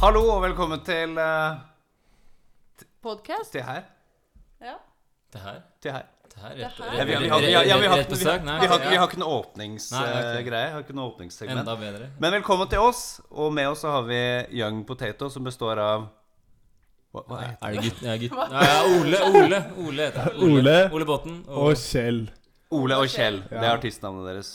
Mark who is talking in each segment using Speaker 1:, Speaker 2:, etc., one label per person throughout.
Speaker 1: Hallo og velkommen til eh,
Speaker 2: Podcast?
Speaker 1: Til her.
Speaker 2: Ja.
Speaker 3: Det her?
Speaker 1: Til her.
Speaker 3: Det her?
Speaker 2: Det her?
Speaker 3: Rett,
Speaker 1: Ja, vi,
Speaker 3: rett,
Speaker 1: vi,
Speaker 3: rett,
Speaker 1: har- vi, har- ja, vi, har-
Speaker 3: rett
Speaker 1: vi,
Speaker 3: besøk? Nei,
Speaker 1: vi, har- vi
Speaker 3: ja.
Speaker 1: har ikke noe
Speaker 3: Nei, ok.
Speaker 1: åpningsgreie. Har ikke noe åpningssegment.
Speaker 3: Enda bedre.
Speaker 1: Men velkommen til oss, og med oss så har vi Young Potato, som består av Hva, hva er det?
Speaker 3: Er det gutt? Ja, gutt. Nei, ja, Ole, Ole, Ole heter han.
Speaker 4: Ole.
Speaker 3: Ole Botten.
Speaker 4: Og Kjell.
Speaker 1: Ole og Kjell. Det er
Speaker 4: Ja.
Speaker 1: artistnavnet deres.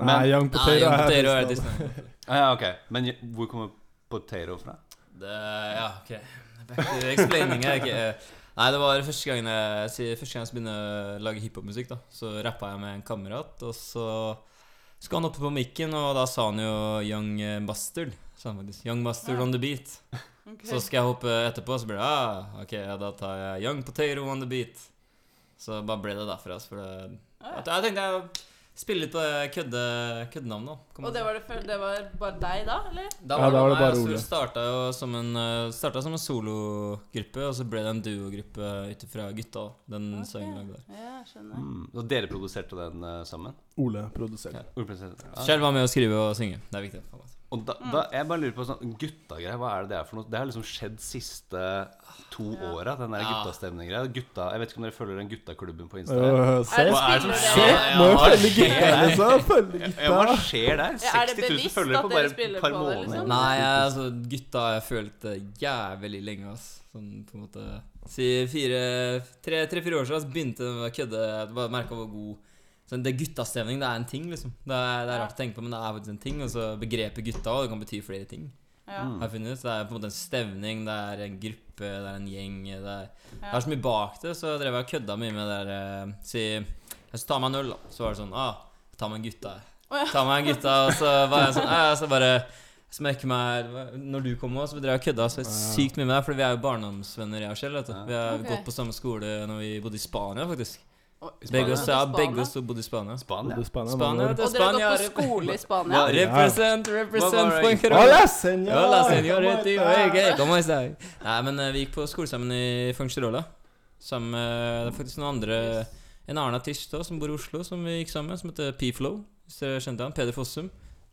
Speaker 4: Nei,
Speaker 1: Men-
Speaker 4: Young
Speaker 3: Nei,
Speaker 4: Potato
Speaker 3: Jon
Speaker 4: er liksom
Speaker 3: Potato er
Speaker 4: artist.
Speaker 3: Disney.
Speaker 1: Ah, ja, ok. Men hvor kommer Potato fra?
Speaker 3: Det, ja, ok. Back to explaining her. ok. Nei, det var første gangen jeg, si- første gang jeg begynte å lage hiphopmusikk. da Så rappa jeg med en kamerat, og så skulle han oppe på mikken, og da sa han jo 'Young Bastard'. Sa han faktisk. 'Young Bastard on the beat'.
Speaker 2: ok.
Speaker 3: Så skal jeg hoppe etterpå, så blir det ah, Ok, ja, da tar jeg Young Potato on the beat. Så bare ble det derfra. altså, For det,
Speaker 2: Ah, ja.
Speaker 3: jeg tenkte jeg spille litt på det kødde, køddenavnet. da, kan man
Speaker 2: Og det
Speaker 3: si.
Speaker 2: var, det, før- det var bare deg da, eller?
Speaker 3: da
Speaker 4: Ja, da var det bare Ole.
Speaker 3: Det starta jo som en, eh, starta som en sologruppe, og så ble det en duogruppe ut ifra gutta. da, Den
Speaker 2: Ok.
Speaker 3: sangen vi lagde der.
Speaker 2: Ja, jeg skjønner.
Speaker 1: Mm. Og dere produserte den eh, sammen?
Speaker 4: Ole produsert.
Speaker 1: Ole produserte- Ja.
Speaker 3: Selv var med å skrive og synge. Det er viktig.
Speaker 1: Og da, da, jeg bare lurer på sånn Guttagreier, hva er det det er for noe? Det har liksom skjedd siste to åra, den der
Speaker 3: Ja.
Speaker 1: guttastemninggreia. Gutta, jeg vet ikke om dere følger den guttaklubben på Instagram?
Speaker 4: Øh, Se,
Speaker 2: Er det
Speaker 1: Hva er det som
Speaker 2: spillere-
Speaker 4: se!
Speaker 3: Ja,
Speaker 4: Må jo
Speaker 3: ja,
Speaker 4: følge
Speaker 3: ja.
Speaker 4: gutta, liksom. Følge
Speaker 1: Ja, hva
Speaker 4: gutta.
Speaker 1: skjer der?
Speaker 2: Ja, er det
Speaker 1: 60 000
Speaker 2: bevisst
Speaker 1: følgere
Speaker 2: at
Speaker 1: på
Speaker 2: dere
Speaker 1: bare
Speaker 2: spiller
Speaker 1: et par
Speaker 2: på
Speaker 1: måneder.
Speaker 2: det, liksom?
Speaker 3: Nei, altså, gutta har jeg følt det jævlig lenge, ass. Sånn på en måte Si fire Tre-fire år siden ass, begynte det å kødde. Jeg bare merka hvor god sånn, Det guttastemning, det er en ting, liksom. Det er, det er rart å tenke på, men det er faktisk en ting. Og så begrepet gutta, og det kan bety flere ting.
Speaker 2: Ja.
Speaker 3: Har jeg funnet ut. Det er på en måte en stevning, det er en gruppe, det er en gjeng. Det er, det
Speaker 2: Ja.
Speaker 3: er så mye bak det, så jeg drev jeg og kødda mye med det der eh, Si Jeg skulle ta meg en øl, da. Så var det sånn ah, Ta meg en gutta.
Speaker 2: Å, ja.
Speaker 3: Ta meg en gutta. Og så var jeg sånn eh, Så bare smekke meg her. Når du kom òg, så drev jeg og kødda så sykt mye med deg. For vi er jo barndomsvenner, jeg og Kjell. vet du.
Speaker 1: Ja.
Speaker 3: Vi har
Speaker 2: Ok.
Speaker 3: gått på samme skole når vi bodde i Spania, faktisk.
Speaker 2: Og,
Speaker 1: Spania?
Speaker 3: Begge oss, ja,
Speaker 2: Spania?
Speaker 3: begge oss bodde i Spania.
Speaker 1: Spania?
Speaker 4: Både Spania,
Speaker 3: Spania,
Speaker 4: Manuel.
Speaker 3: vet du.
Speaker 2: og dere har gått
Speaker 3: Spania-
Speaker 2: på skole i Spania?
Speaker 1: Ja.
Speaker 3: Represent, represent
Speaker 1: Hva var det?
Speaker 3: Fuencarol.
Speaker 4: Hola, senor.
Speaker 3: Hola, señor,
Speaker 4: Come
Speaker 3: ute i
Speaker 4: on, da.
Speaker 3: VG. Kom og se. Nei, men eh, vi gikk på skole sammen i Fuengirola. Sammen med det er faktisk noen andre En annen artist også, som bor i Oslo, som vi gikk sammen med, som heter P-Flow. Hvis dere kjente han, Peder Fossum.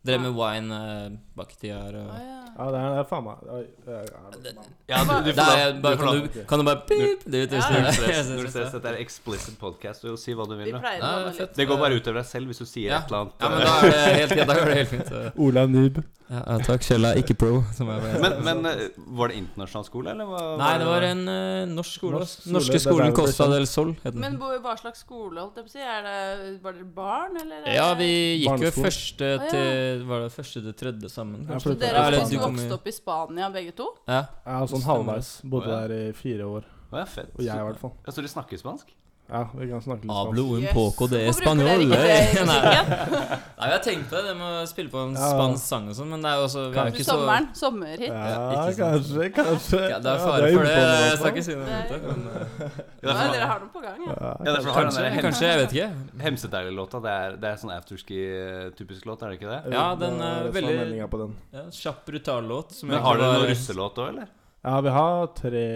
Speaker 3: Drev med wine eh, bak i tida her.
Speaker 2: Å,
Speaker 3: og-
Speaker 2: ja.
Speaker 4: Ja, det er det er faen meg Oi, ja, ja, det er faen meg.
Speaker 1: Ja, du, du,
Speaker 3: Det er-
Speaker 1: får
Speaker 3: bare-
Speaker 1: lov.
Speaker 3: Kan du- kan du bare pip? Det er
Speaker 2: Ja,
Speaker 3: jo tusen-
Speaker 2: ja.
Speaker 1: Null
Speaker 3: Jeg
Speaker 1: stress.
Speaker 3: synes
Speaker 1: Null
Speaker 3: det
Speaker 1: stress.
Speaker 3: er-
Speaker 1: Dette er explicit podcast, og si hva du
Speaker 2: Vi
Speaker 1: vil. da.
Speaker 2: pleier å
Speaker 3: Ja,
Speaker 2: ha
Speaker 3: det er
Speaker 2: litt
Speaker 3: fett.
Speaker 1: Det går bare utover deg selv hvis du sier
Speaker 3: Ja.
Speaker 1: et eller annet.
Speaker 3: Ja, men da er det helt greit. Da går det helt fint. så-
Speaker 4: Ola Nib.
Speaker 3: Ja, ja, takk. Kjella ikke pro. Som jeg
Speaker 1: men, men, eh, var det internasjonal skole, eller? Hva,
Speaker 3: Nei, det var en eh, norsk skole.
Speaker 4: Norsk
Speaker 3: ass.
Speaker 4: skole,
Speaker 3: Norske
Speaker 4: det er der
Speaker 3: skolen
Speaker 4: det ble
Speaker 3: Costa
Speaker 4: kjent.
Speaker 3: del Sol, het den.
Speaker 2: Men bo, hva slags skole, holdt jeg på å si? Er det bare dere barn, eller? er
Speaker 3: Ja,
Speaker 2: det-
Speaker 3: vi gikk jo
Speaker 4: Barneskolen.
Speaker 3: første
Speaker 2: Eh, Å, ja.
Speaker 3: til Var det første til tredje sammen?
Speaker 4: Ja,
Speaker 3: kanskje?
Speaker 4: for
Speaker 2: Så
Speaker 4: det-
Speaker 2: dere har
Speaker 3: Eller
Speaker 2: faktisk
Speaker 3: du kommer-
Speaker 2: vokst opp i Spania, begge to?
Speaker 3: Ja.
Speaker 4: Ja, sånn halvveis. Bodde
Speaker 1: Å, ja.
Speaker 4: der i fire år.
Speaker 1: Å, ja, fett.
Speaker 4: Og jeg, i hvert fall.
Speaker 1: Ja, så du snakker spansk?
Speaker 4: Ja, vi kan snakke litt
Speaker 3: Hablo
Speaker 4: spansk.
Speaker 3: un
Speaker 2: Yes.
Speaker 3: poco de
Speaker 2: Hvorfor bruker dere
Speaker 3: español.
Speaker 2: ikke det i
Speaker 3: Nei,
Speaker 2: musikken?
Speaker 3: Nei, jeg tenkte på det, det med å spille på en
Speaker 4: Ja.
Speaker 3: spansk sang og sånn, men det er jo også Vi er jo
Speaker 2: Til
Speaker 3: ikke så
Speaker 2: Sommeren? Sommerhit?
Speaker 4: Ja,
Speaker 3: ikke sant.
Speaker 4: kanskje, kanskje.
Speaker 3: ja, Det er
Speaker 4: Ja,
Speaker 3: fare for det.
Speaker 4: innpå meg,
Speaker 3: Jeg skal
Speaker 4: i hvert
Speaker 3: ikke si noe
Speaker 2: Nei.
Speaker 3: om det.
Speaker 1: Ja,
Speaker 3: men, eh,
Speaker 2: Nei,
Speaker 1: det
Speaker 2: dere
Speaker 1: er
Speaker 2: har den på gang, ja.
Speaker 4: fall.
Speaker 1: ja, derfor har den
Speaker 3: Kanskje,
Speaker 1: der hem,
Speaker 3: kanskje, jeg vet ikke.
Speaker 1: Hemsedeilig-låta. Det, er- det er sånn afterski-typisk låt, er det ikke det?
Speaker 4: Ja,
Speaker 3: Ja, den
Speaker 4: det
Speaker 3: er
Speaker 4: det som
Speaker 3: veldig-
Speaker 4: meldingen på den.
Speaker 3: Ja, kjapp, brutal låt. som
Speaker 1: Men
Speaker 3: egentlig
Speaker 1: har dere
Speaker 3: var-
Speaker 1: noen russelåt òg, eller?
Speaker 4: Ja, vi har tre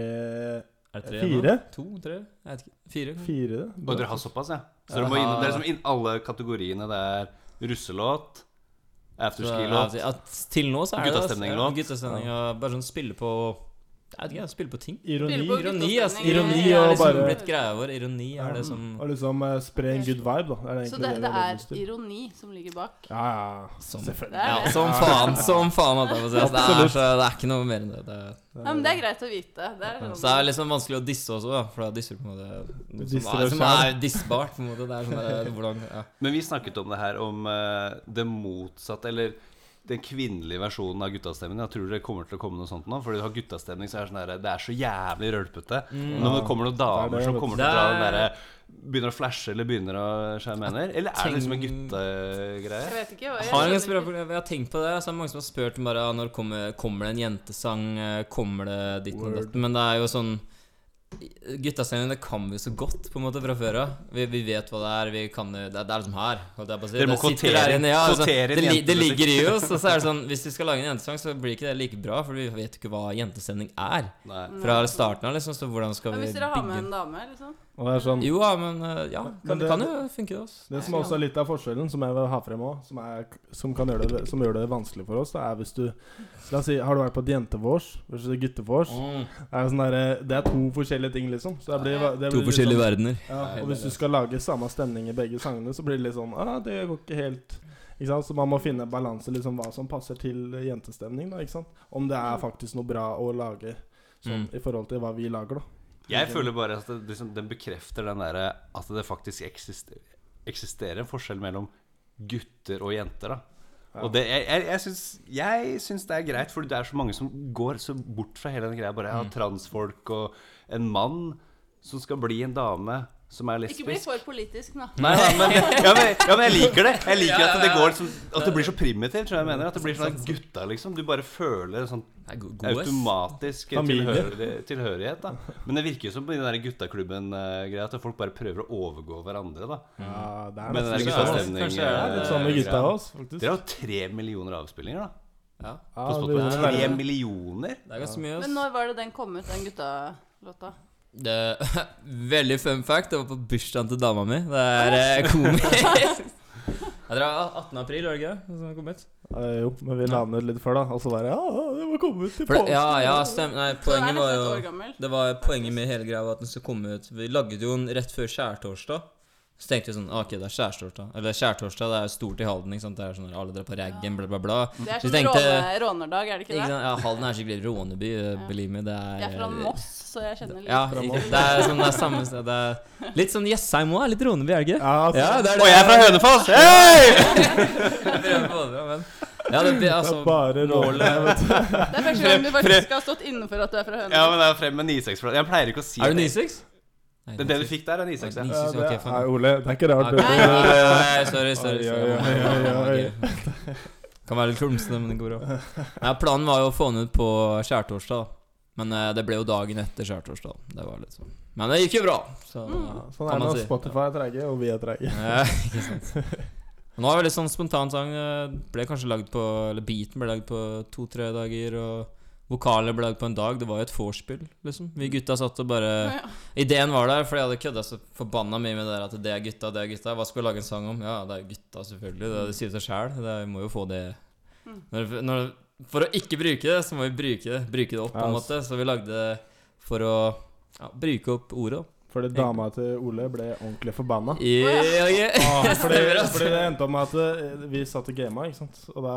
Speaker 3: Er det tre nå?
Speaker 4: Fire?
Speaker 3: To? Tre? Jeg vet ikke. Fire? kanskje?
Speaker 4: Fire, det.
Speaker 1: Og dere har såpass, ja? Så dere
Speaker 3: Ja.
Speaker 1: må inn, det er liksom inn alle kategoriene. Det er russelåt, afterski-låt
Speaker 3: Ja, altså- at Til nå så er det altså,
Speaker 1: Guttastemning
Speaker 3: ja,
Speaker 1: låt.
Speaker 3: Guttastemning og bare sånn spille på Jeg vet ikke, jeg, spille på ting.
Speaker 4: Ironi.
Speaker 2: Spille på
Speaker 3: Ironi, ass.
Speaker 2: guttastemning.
Speaker 3: Ironi
Speaker 4: Ja,
Speaker 3: er liksom
Speaker 4: bare-
Speaker 3: blitt greia vår. Ironi er det sånn- som
Speaker 4: Og liksom eh, spre en good vibe, da. Er
Speaker 2: Så
Speaker 4: det egentlig
Speaker 2: det,
Speaker 4: vi
Speaker 2: det
Speaker 4: har
Speaker 2: er
Speaker 4: lyst til.
Speaker 2: ironi som ligger bak?
Speaker 4: Ja, ja.
Speaker 3: Som-
Speaker 4: Selvfølgelig.
Speaker 2: Det er
Speaker 3: Ja,
Speaker 2: det.
Speaker 3: som faen. Som faen. holdt jeg på å si. Altså, Det, er,
Speaker 4: Absolutt.
Speaker 3: så, det er ikke noe mer enn det. det er,
Speaker 2: Ja, men det er greit å vite. Det er
Speaker 3: så det er
Speaker 2: sånn.
Speaker 3: liksom vanskelig å disse også, da, for da disser du på en måte noe
Speaker 4: Disser
Speaker 3: som, er,
Speaker 4: deg
Speaker 3: som
Speaker 4: selv.
Speaker 3: er dissbart. på en måte. Det er sånn der, hvordan, ja.
Speaker 1: Men vi snakket om det her, om eh, det motsatte, eller den kvinnelige versjonen av guttastemningen. Jeg tror det kommer til å komme noe sånt nå. Fordi du har guttastemning, så er det sånn der, det er så jævlig rølpete. Og Når det kommer noen
Speaker 4: Det er
Speaker 1: damer
Speaker 4: det,
Speaker 1: som
Speaker 4: vet du.
Speaker 1: kommer til å dra den
Speaker 3: Mm. Det er-
Speaker 1: derre Begynner å flashe eller begynner å skjære mener. Eller er det liksom en
Speaker 3: Tenk-
Speaker 2: Jeg
Speaker 1: guttegreie?
Speaker 2: vet ikke. og jeg
Speaker 3: Jeg har, ingen
Speaker 2: skjønner
Speaker 3: spørre- jeg har tenkt på det. Så er det mange som har spurt om bare, ah, når kommer, kommer det en jentesang. eh, Kommer det ditt og
Speaker 4: Word.
Speaker 3: datt? Men det er jo sånn Guttastemning, det kan vi jo så godt på en måte fra før av. Vi, vi vet hva det er. Vi kan, det, det er liksom her. holdt jeg på å si.
Speaker 1: Dere må
Speaker 3: Det sitter
Speaker 1: kvotere-
Speaker 3: der inne, ja, altså,
Speaker 1: kvotere
Speaker 3: det,
Speaker 1: inn
Speaker 3: li- det
Speaker 1: jentemusikk.
Speaker 3: ligger i oss. Og så er det sånn, hvis vi skal lage en jentesang, så blir ikke det like bra, for vi vet jo ikke hva jentestemning er.
Speaker 1: Nei.
Speaker 3: Fra starten av, liksom. Så hvordan skal
Speaker 2: Men
Speaker 3: vi
Speaker 2: hvis dere har med
Speaker 3: bygge
Speaker 2: en dame, liksom
Speaker 4: Og det er sånn
Speaker 3: Jo ja, men eh, ja,
Speaker 4: Men
Speaker 3: kan,
Speaker 4: det-
Speaker 3: det kan jo funke, det. Altså.
Speaker 4: Det som også er litt av forskjellen, som jeg vil ha frem òg, som, er- som, kan gjøre det- som gjør det vanskelig for oss, det er hvis du La oss si, har du vært på et jentevors versus et guttevors? Det er, jo sånn der, det er to forskjellige ting, liksom. Så det blir, det blir litt sånn,
Speaker 3: verdener.
Speaker 4: ja, og hvis du skal lage samme stemning i begge sangene, så blir det litt sånn ah, Det går ikke helt ikke sant? Så man må finne balanse, liksom hva som passer til jentestemning. da, ikke sant? Om det er faktisk noe bra å lage sånn,
Speaker 3: Mm.
Speaker 4: i forhold til hva vi lager, da.
Speaker 1: Jeg føler bare at det, liksom, den bekrefter den derre at det faktisk eksister, eksisterer en forskjell mellom gutter og jenter, da.
Speaker 4: Ja.
Speaker 1: Og det, jeg, jeg, jeg, syns, jeg syns det er greit, fordi det er så mange som går så bort fra hele den greia. Bare ja, transfolk og en mann som skal bli en dame som er
Speaker 2: Ikke bli
Speaker 1: lesbisk.
Speaker 2: for politisk, da.
Speaker 3: Mm.
Speaker 1: Nei, nei, men, ja, men, ja, men jeg liker det. Jeg liker
Speaker 3: Ja,
Speaker 1: At det
Speaker 3: ja.
Speaker 1: går som, At det blir så primitivt, tror jeg jeg mener. At det blir sånn at gutta, liksom. Du bare føler en sånn
Speaker 3: Det er go- god, ass.
Speaker 1: automatisk
Speaker 4: Familie.
Speaker 1: tilhøri- tilhørighet. da Men det virker jo som på den der guttaklubben-greia at folk bare prøver å overgå hverandre. da
Speaker 4: Ja, det
Speaker 1: Men
Speaker 4: er
Speaker 1: den der
Speaker 3: Mm. det
Speaker 4: nesten litt
Speaker 3: er kanskje-
Speaker 4: sånn.
Speaker 1: guttastemning
Speaker 3: kanskje er
Speaker 4: Det er
Speaker 1: eh,
Speaker 4: litt sånn med gutta
Speaker 1: greia.
Speaker 4: òg, faktisk.
Speaker 1: Dere har jo tre millioner avspillinger, da.
Speaker 3: Ja,
Speaker 4: Ja,
Speaker 1: På
Speaker 4: vi-
Speaker 1: Spotify. Tre millioner?
Speaker 3: det er ganske mye. ass.
Speaker 2: Men når var det den kom ut, den guttalåta?
Speaker 3: Det, veldig fun fact. Det var på bursdagen til dama mi. Det er eh, komisk. Jeg tror det var 18. april, var det ikke det? Som den kom ut?
Speaker 4: Eh, jo, men vi la den ut litt før, da. Og så bare Ja, ja, det må komme ut i
Speaker 3: For det,
Speaker 4: påsken.
Speaker 3: ja, ja, stem, nei,
Speaker 2: Så den er
Speaker 3: poenget var
Speaker 2: nesten et år
Speaker 3: jo Mm.
Speaker 2: gammel.
Speaker 3: Det var poenget med hele greia var at den skulle komme ut Vi lagde jo den rett før skjærtorsdag. Så tenkte vi sånn ah, Ok, det er skjærtorsdag. Eller skjærtorsdag, det er jo stort i Halden. Ikke sant? Det er sånn Alle drar på raggen, bla, bla, bla.
Speaker 2: Det er
Speaker 3: Så
Speaker 2: sånn
Speaker 3: vi tenkte-
Speaker 2: råne, rånerdag, er det
Speaker 3: Ikke
Speaker 2: ikke det?
Speaker 3: sant? Ja, Halden er skikkelig råneby. eh, Believe me. Det er
Speaker 2: Jeg er fra Moss, så jeg kjenner litt
Speaker 3: Ja,
Speaker 4: Fra
Speaker 3: ikke-
Speaker 4: Moss.
Speaker 3: det er sånn det er samme sted. Det er litt sånn Jessheim òg. Litt råneby, er det ikke?
Speaker 4: Ja, altså,
Speaker 3: Ja, det er det.
Speaker 1: Og jeg er fra Hønefoss! Hei!
Speaker 3: Ja, det blir
Speaker 4: det
Speaker 3: altså
Speaker 4: er bare
Speaker 3: målet-
Speaker 4: råle. vet du.
Speaker 2: Det er første gang du faktisk har stått innenfor at du er fra
Speaker 1: Ja,
Speaker 2: Hønefoss.
Speaker 1: men det er frem med 96-flate. Jeg pleier ikke å si
Speaker 3: Er du 96? Nei,
Speaker 1: Det, det du fikk der, er 96.
Speaker 3: Nei,
Speaker 1: Ja.
Speaker 4: Ja,
Speaker 3: synes jeg, ok,
Speaker 4: det
Speaker 3: faen.
Speaker 4: er, Ole, det er ikke rart.
Speaker 3: Nei,
Speaker 4: du.
Speaker 3: nei, nei, nei, sorry, sorry.
Speaker 4: Oi,
Speaker 3: sorry.
Speaker 4: oi, oi, oi, oi.
Speaker 3: Kan være litt klumsete, men det går bra. Nei, planen var jo å få den ut på skjærtorsdag, men eh, det ble jo dagen etter skjærtorsdag. Det var litt sånn. Men det gikk jo bra, så
Speaker 4: Ja,
Speaker 3: kan
Speaker 4: Sånn er det
Speaker 3: man
Speaker 4: når
Speaker 3: si.
Speaker 4: Spotify er treige, og vi er treige.
Speaker 3: Ja, ikke sant. Nå er det veldig sånn spontan sang. eh, Ble kanskje lagd på Eller beaten ble lagd på to-tre dager, og vokalene ble lagd på en dag. Det var jo et vorspiel, liksom. Vi gutta satt og bare
Speaker 2: Ja,
Speaker 3: Ideen var der, for jeg hadde kødda så forbanna mye med det der at det er gutta, det er gutta. Hva skal vi lage en sang om? Ja, det er gutta, selvfølgelig. Det, det sier seg sjæl. Vi må jo få det når, når, For å ikke bruke det, så må vi bruke det, bruke det opp, på en
Speaker 4: Ja,
Speaker 3: måte. Så vi lagde det for å ja, bruke opp ordet.
Speaker 4: Fordi dama til Ole ble ordentlig forbanna.
Speaker 3: Ja, ja.
Speaker 4: Ah, fordi,
Speaker 3: Stemmer, ass.
Speaker 4: fordi det endte opp med at eh, vi satt og gama, ikke sant. Og da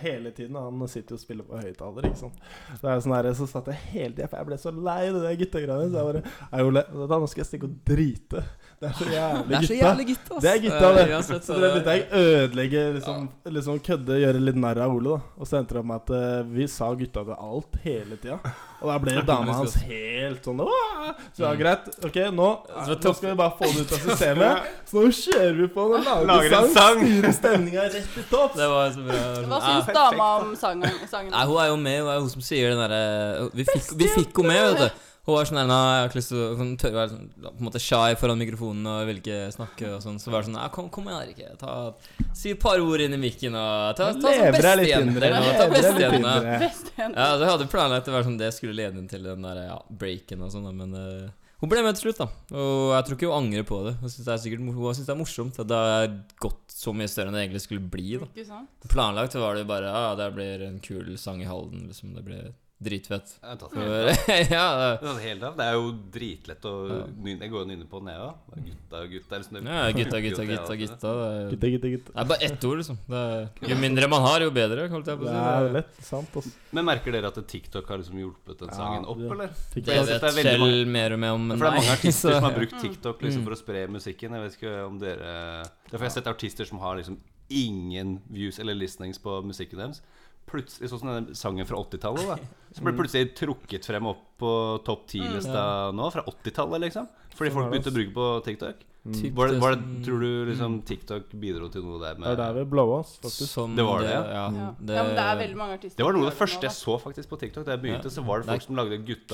Speaker 4: hele tiden Han sitter jo og spiller på høyttaler, ikke sant. Så, er det sånn der, så satt jeg hele tida, for jeg ble så lei det der guttegreiene. Så jeg bare Nei, Ole, da nå skal jeg stikke og drite. Det er så jævlig gutta.
Speaker 3: gutta,
Speaker 4: Det er gutta, det.
Speaker 3: Eh, uansett,
Speaker 4: Så det begynte jeg å ødelegge, liksom, liksom kødde, gjøre litt narr av Ole. da Og så endte det opp med at eh, vi sa gutta til alt hele tida. Og da ble dama hans helt sånn «Åh!» Så ja, greit, ok, nå,
Speaker 3: Så
Speaker 4: nå skal vi bare få det ut av systemet. Så nå kjører vi på og lager
Speaker 1: Lager en
Speaker 4: sang.
Speaker 1: sang.
Speaker 4: Styrer stemninga rett i topp.
Speaker 3: Det var så bra. det var
Speaker 2: Hva
Speaker 3: sånn,
Speaker 2: syns
Speaker 3: ah.
Speaker 2: dama om sangen? sangen?
Speaker 3: Nei, hun er jo med. Hun er hun som sier den derre øh, vi, fikk- vi fikk henne med, vet du. Hun var sånn der, nei, jeg har ikke lyst til å Hun tør å være sånn, ja, på en måte shy foran mikrofonen og vil ikke snakke og sånn. Så var det sånn Nei, kom, kom igjen, Erik. Ta, si et par ord inn i mikken og Ta, ta som
Speaker 4: Lever deg litt
Speaker 3: bestejente.
Speaker 4: indre.
Speaker 3: eller noe, Ta sånn
Speaker 4: Lever deg litt
Speaker 3: bestejente.
Speaker 4: indre.
Speaker 2: Bestejente.
Speaker 3: Ja, så jeg hadde planlagt å være sånn det skulle lede inn til den der ja, breaken og sånn, da, men eh, hun ble med til slutt, da. Og jeg tror ikke hun angrer på det. Hun syns det er sikkert mor- hun synes det er morsomt. At det har gått så mye større enn det egentlig skulle bli, da.
Speaker 2: Ikke sant?
Speaker 3: Planlagt var det jo bare Ja, det blir en kul sang i Halden, liksom. Det blir dritfett.
Speaker 1: Jeg har tatt
Speaker 2: Mm.
Speaker 1: den
Speaker 3: Så,
Speaker 1: helt av.
Speaker 3: ja,
Speaker 1: Jeg har tatt den helt av. Det er jo dritlett å
Speaker 3: Ja.
Speaker 1: ny- Jeg går jo nynne på den, jeg òg. Gutta, gutta. eller sånn-
Speaker 3: ja, gutta, gutta, gutta,
Speaker 1: altså.
Speaker 3: gutta. Det er-
Speaker 4: Gutte, gutte, gutte.
Speaker 3: det er bare ett ord, liksom. Det er, jo mindre man har, jo bedre, holdt jeg på
Speaker 4: Det
Speaker 3: å
Speaker 4: er
Speaker 3: si.
Speaker 4: lett sant, altså.
Speaker 1: Men merker dere at TikTok har liksom hjulpet den
Speaker 4: Ja,
Speaker 1: sangen opp,
Speaker 4: det-
Speaker 1: eller?
Speaker 3: Det
Speaker 4: Fikk
Speaker 1: Jeg synes
Speaker 4: jeg-
Speaker 1: det er
Speaker 3: vet
Speaker 1: veldig
Speaker 3: selv mer og mer om, men
Speaker 1: For det er mange artister som har brukt
Speaker 2: Mm.
Speaker 1: TikTok liksom
Speaker 3: Mm.
Speaker 1: for å spre musikken. Jeg vet ikke om dere Det er for jeg har sett artister som har liksom ingen views eller listenings på musikken deres. Plutselig, Sånn som den sangen fra 80-tallet. da Så ble plutselig trukket frem opp på topp 10-lista nå, fra 80-tallet, liksom. Fordi
Speaker 4: Sånn
Speaker 1: folk
Speaker 4: er det,
Speaker 1: begynte å bruke på TikTok.
Speaker 4: Mm.
Speaker 1: Var det, var det, tror du liksom TikTok bidro til noe der
Speaker 4: Det er der
Speaker 1: med
Speaker 4: vi blowa oss, faktisk.
Speaker 3: Som
Speaker 1: Det var det, ja.
Speaker 3: ja.
Speaker 2: Ja. ja, men det er veldig mange artister
Speaker 1: Det var noe av det
Speaker 2: som gjør
Speaker 1: første jeg
Speaker 2: nå,
Speaker 1: så faktisk på TikTok. Da jeg begynte, så var det
Speaker 3: Det er
Speaker 1: folk som lagde
Speaker 3: kult,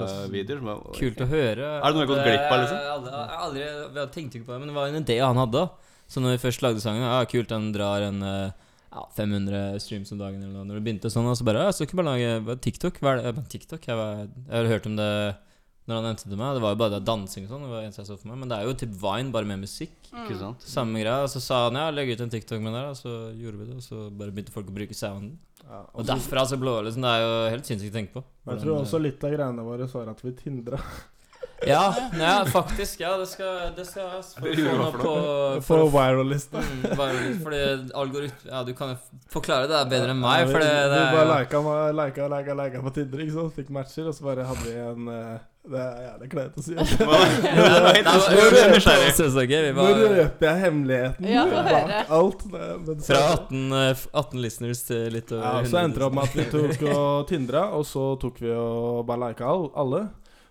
Speaker 3: ass.
Speaker 1: gutta-videoer. som var-
Speaker 3: Kult å høre.
Speaker 1: Er det noe jeg har gått glipp av, liksom?
Speaker 3: Jeg har aldri- jeg har aldri, jeg tenkte ikke på det, men det var en idé han hadde. da. Så når vi først lagde sangen, ja, kult, den drar en eh, ja, 500 streams om dagen eller noe. ah, eh, Når det begynte sånn, og så bare, ja, så kan vi bare lage bare TikTok. Hva er det? Jeg bare, TikTok? Jeg, bare, jeg har hørt om det når han nevnte det til meg. Det var jo bare det dansing og sånn. Det var det eneste jeg så for meg Men det er jo typ Vine, bare med musikk.
Speaker 1: Ikke sant?
Speaker 3: Samme greia. Og så sa han ja, legg ut en TikTok med det, her», og så gjorde vi det. Og så bare begynte folk å bruke sounden.
Speaker 4: Ja,
Speaker 3: Og derfra så blå, liksom, Det er jo helt sinnssykt å tenke på.
Speaker 4: Jeg tror også litt av greiene våre så var at vi tindra.
Speaker 3: ja, ja, faktisk. Ja, det skal, det skal jeg få
Speaker 1: Det gjorde hva
Speaker 3: få noe
Speaker 1: for
Speaker 3: på
Speaker 4: For viralista.
Speaker 3: Mm, bare litt, fordi algoritm... Ja, du kan jo f- forklare det der bedre enn meg, for det, det
Speaker 4: Vi
Speaker 3: er
Speaker 4: bare lika, lika, lika, lika på Tinder, ikke sant. Fikk matcher, og så bare hadde vi en eh, Det er jævlig kleint å si. altså.
Speaker 3: Ja, det var helt
Speaker 4: Nå
Speaker 3: nysgjerrig. Vi
Speaker 4: Nå
Speaker 3: var
Speaker 4: røper jeg hemmeligheten
Speaker 2: Ja, få
Speaker 4: bak
Speaker 2: høre.
Speaker 4: alt. det- Men
Speaker 3: fra 18, eh, f- 18 listeners til litt over
Speaker 4: Ja, så
Speaker 3: 100
Speaker 4: endte det opp med at vi tok og tindra, og så tok vi og bare lika all- alle.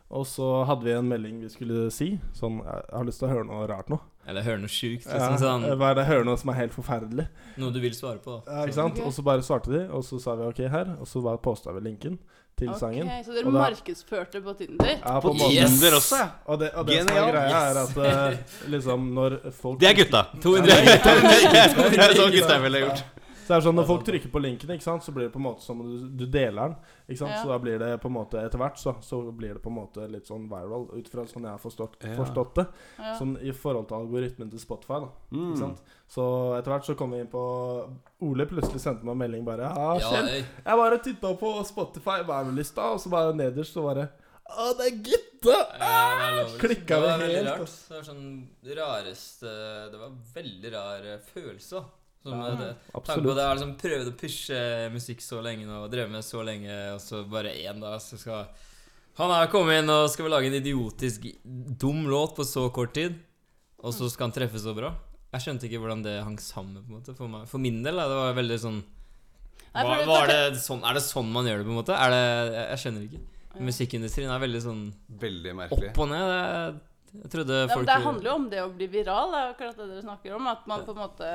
Speaker 4: Og så hadde vi en melding vi skulle si. Sånn, jeg jeg har lyst til å høre noe rart nå.
Speaker 3: Eller hører noe sjukt.
Speaker 4: Ja,
Speaker 3: Liksom, sånn,
Speaker 4: hva er det, høre noe som er helt forferdelig.
Speaker 3: noe du vil svare på. da.
Speaker 4: Ja, ikke sant?
Speaker 2: Ok.
Speaker 4: Og så bare svarte de, og så sa vi ok her, og så bare posta vi linken til sangen.
Speaker 2: Ok, så dere
Speaker 4: Og da-
Speaker 2: markedsførte på Tinder?
Speaker 4: Ja, på
Speaker 1: På
Speaker 4: en måte.
Speaker 3: Yes!
Speaker 1: Tinder også, ja.
Speaker 4: Og det, og det som er
Speaker 1: Genial.
Speaker 4: greia, er at eh, liksom når folk
Speaker 1: Det er gutta.
Speaker 3: 200
Speaker 1: Det er sånn gutta ville gjort.
Speaker 4: Så det er sånn Når folk trykker på linken, ikke sant, så blir det på en måte som om du, du deler den. Ikke sant?
Speaker 2: Ja.
Speaker 4: Så da blir det på en måte etter hvert så, så blir det på en måte litt sånn viral, ut fra sånn jeg har forstått,
Speaker 1: Ja.
Speaker 4: forstått det.
Speaker 2: Ja.
Speaker 4: Sånn i forhold til algoritmen til Spotify. da
Speaker 1: Mm.
Speaker 4: ikke sant? Så etter hvert så kom vi inn på Ole plutselig sendte meg en melding bare Ja,
Speaker 3: Ja,
Speaker 4: Kjell,
Speaker 3: øy.
Speaker 4: jeg bare titta på Spotify vervelista, og så bare nederst så bare Å, det er gutta!
Speaker 2: Ah!
Speaker 3: Ja, det var lov.
Speaker 4: Klikket
Speaker 3: Det var
Speaker 4: vi
Speaker 3: veldig
Speaker 4: helt,
Speaker 3: rart.
Speaker 4: ass.
Speaker 3: Det var sånn rareste Det var veldig rar eh, følelse, da. Som eh,
Speaker 4: Ja,
Speaker 3: det, tanken på
Speaker 4: Absolutt.
Speaker 3: det, jeg har liksom prøvd å pushe musikk så lenge nå, og drevet med så lenge, og så bare én dag, så skal Han her komme inn og skal vel lage en idiotisk dum låt på så kort tid, og så skal han treffe så bra. Jeg skjønte ikke hvordan det hang sammen på en måte for meg. For min del, da, det var veldig sånn
Speaker 2: Nei, for
Speaker 3: var,
Speaker 2: det-
Speaker 3: var det sånn, Er det sånn man gjør det, på en måte? Er det, jeg, jeg skjønner ikke. Musikkindustrien er veldig sånn
Speaker 1: Veldig merkelig.
Speaker 3: opp og ned. Jeg, jeg trodde
Speaker 2: Ja, men
Speaker 3: folk
Speaker 2: det handler jo om det å bli viral. Det er jo akkurat det dere snakker om. At man på en måte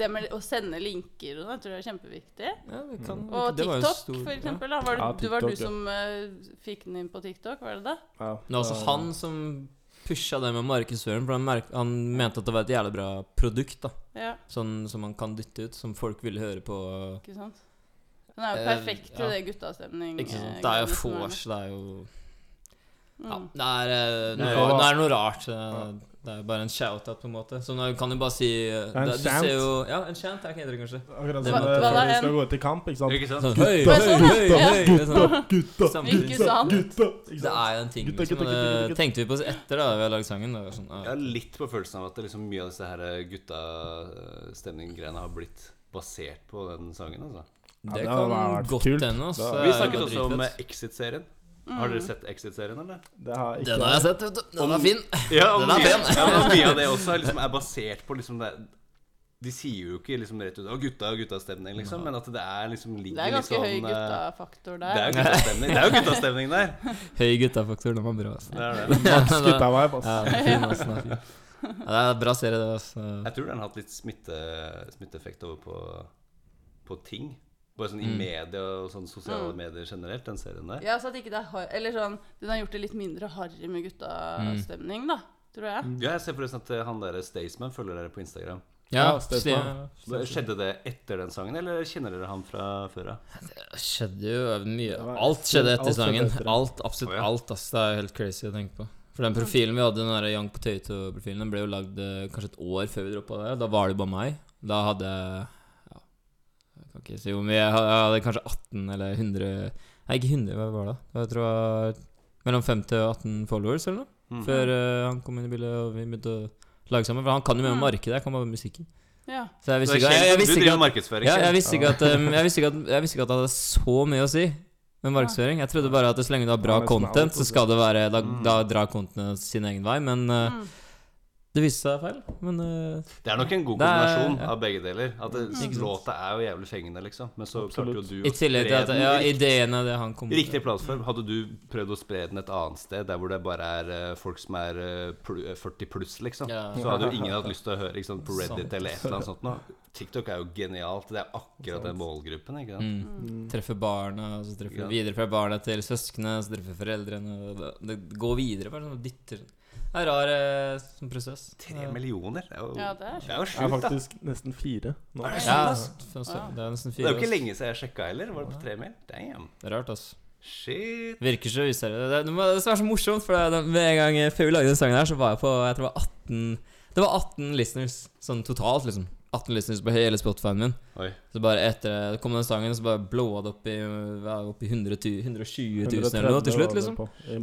Speaker 2: Det med å sende linker og sånn, jeg tror det er kjempeviktig.
Speaker 3: ja, det kan,
Speaker 2: Og
Speaker 3: Mm, det var jo
Speaker 2: TikTok,
Speaker 3: stor-
Speaker 2: for
Speaker 3: ja.
Speaker 2: eksempel. Da. Var det,
Speaker 4: Ja,
Speaker 2: du, var
Speaker 4: TikTok,
Speaker 2: du
Speaker 4: ja.
Speaker 2: som eh, fikk den inn på TikTok, var det det?
Speaker 4: Ja.
Speaker 3: Men det var altså han som pusha det med markedsføring, for han, merk- han mente at det var et jævlig bra produkt. da
Speaker 2: Ja,
Speaker 3: Sånn som man kan dytte ut, som folk vil høre på.
Speaker 2: ikke sant? Den er jo
Speaker 3: Eh,
Speaker 2: perfekt til
Speaker 3: ja.
Speaker 2: det guttastemning.
Speaker 3: Ikke sant?
Speaker 2: eh,
Speaker 3: Det er jo
Speaker 2: greiene som er
Speaker 3: vors, det er jo
Speaker 2: nå.
Speaker 3: Ja,
Speaker 2: Mm.
Speaker 3: det er, eh,
Speaker 4: Du
Speaker 3: det er,
Speaker 4: kan-
Speaker 3: jo- det er noe rart. eh, Det er jo bare en shout-out, på en måte. Så nå kan du bare si eh,
Speaker 4: er en
Speaker 3: det- du
Speaker 4: chant.
Speaker 3: ser jo, Ja, en chant. Jeg kan hete det, kanskje.
Speaker 4: Akkurat
Speaker 3: Det
Speaker 4: som
Speaker 3: var- det var
Speaker 4: eh, før
Speaker 2: da
Speaker 4: vi skal
Speaker 2: en-
Speaker 4: gå til kamp, ikke sant.
Speaker 1: Ikke sant?
Speaker 3: Sånn, høy,
Speaker 2: Men
Speaker 3: høy,
Speaker 2: sånn,
Speaker 3: høy,
Speaker 2: ja.
Speaker 3: høy, sånn.
Speaker 4: Gutta,
Speaker 3: Samtidig.
Speaker 2: Ikke sant?
Speaker 4: gutta!
Speaker 3: Det
Speaker 4: Ikke sant?
Speaker 3: er jo en ting,
Speaker 4: Gutta,
Speaker 3: liksom.
Speaker 4: gutta,
Speaker 3: Og
Speaker 4: gutta,
Speaker 3: det
Speaker 4: gutta.
Speaker 3: tenkte vi på etter da vi hadde lagd sangen. Det var sånn,
Speaker 1: Jeg
Speaker 3: ah,
Speaker 1: har litt på følelsen av at det liksom mye av disse her guttastemning-greiene har blitt basert på den sangen. altså
Speaker 4: Ja,
Speaker 3: det
Speaker 4: det hadde
Speaker 3: kan
Speaker 4: vært
Speaker 3: godt
Speaker 4: kult.
Speaker 3: hende. ass.
Speaker 4: Det
Speaker 3: Det
Speaker 4: hadde-
Speaker 3: er
Speaker 1: Vi
Speaker 3: jo
Speaker 1: snakket
Speaker 3: bare
Speaker 1: også om eh,
Speaker 3: dritfett.
Speaker 1: Exit-serien. Har dere sett Exit-serien, eller?
Speaker 4: Det har ikke
Speaker 3: Den har jeg sett, vet du. Den er fin.
Speaker 1: Ja, og
Speaker 3: Den er
Speaker 1: mye,
Speaker 3: pen.
Speaker 1: ja, men mye av det også er liksom, er basert på liksom det De sier jo ikke liksom rett ut 'Å, gutta, guttastemning', liksom, men at det er liksom ligger
Speaker 2: Det er
Speaker 1: litt
Speaker 2: ganske
Speaker 1: sånn
Speaker 2: høy
Speaker 1: eh,
Speaker 2: guttafaktor
Speaker 1: Det er
Speaker 2: der.
Speaker 1: jo guttastemning. Det er jo guttastemning der.
Speaker 3: Høy guttafaktor, den var bra. ass.
Speaker 1: Det er det.
Speaker 3: Ja,
Speaker 4: Gutta-vibe, altså.
Speaker 3: den er fin, ass, den er fin. Ja, det er en bra serie, det. altså. ass.
Speaker 1: Jeg tror den har hatt litt smitte, smitteeffekt over på, på ting. Bare
Speaker 3: Mm.
Speaker 1: sånn i media og sånn sosiale medier generelt, den serien der.
Speaker 2: Ja, så at ikke det er har- Eller sånn Den har gjort det litt mindre harry med
Speaker 3: Mm.
Speaker 2: guttastemning, da. Tror jeg.
Speaker 1: Ja, jeg ser forresten at eh, han der Staysman følger dere på Instagram.
Speaker 3: Ja,
Speaker 4: Stefan.
Speaker 3: Stian.
Speaker 1: Så Skjedde det etter den sangen, eller kjenner dere han fra før av?
Speaker 3: Det skjedde jo mye.
Speaker 4: Det var-
Speaker 3: Alt skjedde
Speaker 4: alt
Speaker 3: etter
Speaker 4: skjedde
Speaker 3: sangen.
Speaker 4: etter det.
Speaker 3: Alt, absolutt
Speaker 1: Å, ja.
Speaker 3: alt. ass. Det er helt crazy å tenke på. For den profilen vi hadde, den der Young Potato-profilen, den ble jo lagd eh, kanskje et år før vi droppa det. Da var det bare meg. Da hadde jeg ja, Jeg kan ikke si hvor mye. Jeg hadde, jeg hadde kanskje 18 eller 100 Nei, ikke 100, hva var det? da? Jeg tror det var mellom 50 og 18 followers eller noe.
Speaker 1: Mm.
Speaker 3: Før eh, han kom inn i bildet og vi begynte å lage sammen. For han kan jo mye om
Speaker 2: Mm.
Speaker 3: markedet, jeg kan bare musikken.
Speaker 2: Ja.
Speaker 1: Så det
Speaker 3: Så jeg visste ikke, jeg,
Speaker 1: skjer-
Speaker 3: jeg
Speaker 1: du
Speaker 3: visste ikke
Speaker 1: driver
Speaker 3: at
Speaker 1: markedsføring?
Speaker 3: ja,
Speaker 1: selv.
Speaker 3: jeg visste, ikke at, um, jeg, visste ikke at, jeg visste ikke at det hadde så mye å si med markedsføring. Jeg trodde bare at så lenge du har bra
Speaker 4: Ja, men som er
Speaker 3: content,
Speaker 4: alt,
Speaker 3: så skal det være Da,
Speaker 1: Mm.
Speaker 3: da drar contentet sin egen vei, men uh,
Speaker 2: Mm.
Speaker 3: det viste seg feil. Men uh,
Speaker 1: Det er nok en god
Speaker 3: Det er-
Speaker 1: kombinasjon
Speaker 3: ja.
Speaker 1: av begge deler. At det,
Speaker 3: Ikke sant.
Speaker 1: låta er jo jævlig fengende, liksom. Men så
Speaker 4: Absolutt.
Speaker 1: klarte jo du
Speaker 3: i tillegg til at
Speaker 1: den
Speaker 3: ja,
Speaker 1: i rikt-
Speaker 3: ideen av det han kom
Speaker 1: i riktig plattform. Hadde du prøvd å spre den et annet sted, der hvor det bare er eh, folk som er eh, plu- eh, 40 pluss, liksom,
Speaker 3: Ja. altså,
Speaker 1: så hadde jo ingen hatt lyst til å høre ikke sant, på
Speaker 3: Sant.
Speaker 1: Reddit eller et eller annet sånt noe. TikTok er jo genialt. Det er akkurat den målgruppen, ikke sant.
Speaker 3: Mm. Treffer barna, og så treffer
Speaker 1: Ja.
Speaker 3: videre fra barna til søsknene, så treffer foreldrene og Det, det går videre, bare sånn og dytter Det er rar eh, sånn prosess.
Speaker 1: Tre millioner? Det er jo,
Speaker 2: Ja, det er
Speaker 1: det er jo
Speaker 4: Det er
Speaker 1: sjukt, da.
Speaker 4: faktisk nesten fire nå.
Speaker 1: Er det
Speaker 3: Ja,
Speaker 1: sant, ass?
Speaker 3: så- så- det er nesten
Speaker 1: Det er
Speaker 3: fire
Speaker 1: jo ikke
Speaker 3: ass.
Speaker 1: lenge siden jeg sjekka heller. Var det på tre mil? Damn.
Speaker 3: Det er rart, altså.
Speaker 1: Shit.
Speaker 3: Virker så useriøst. Det, det må- det som er så morsomt, for det, det, med en gang eh, før vi lagde den sangen her, så var jeg på jeg tror det var 18 Det var 18 listeners sånn totalt, liksom. 18 listeners på hele Spotify-en min.
Speaker 1: Oi.
Speaker 3: Så bare etter det kom den sangen, så bare blowa det opp i, ja, opp i 100 tu- 120 000 eller noe til slutt, liksom.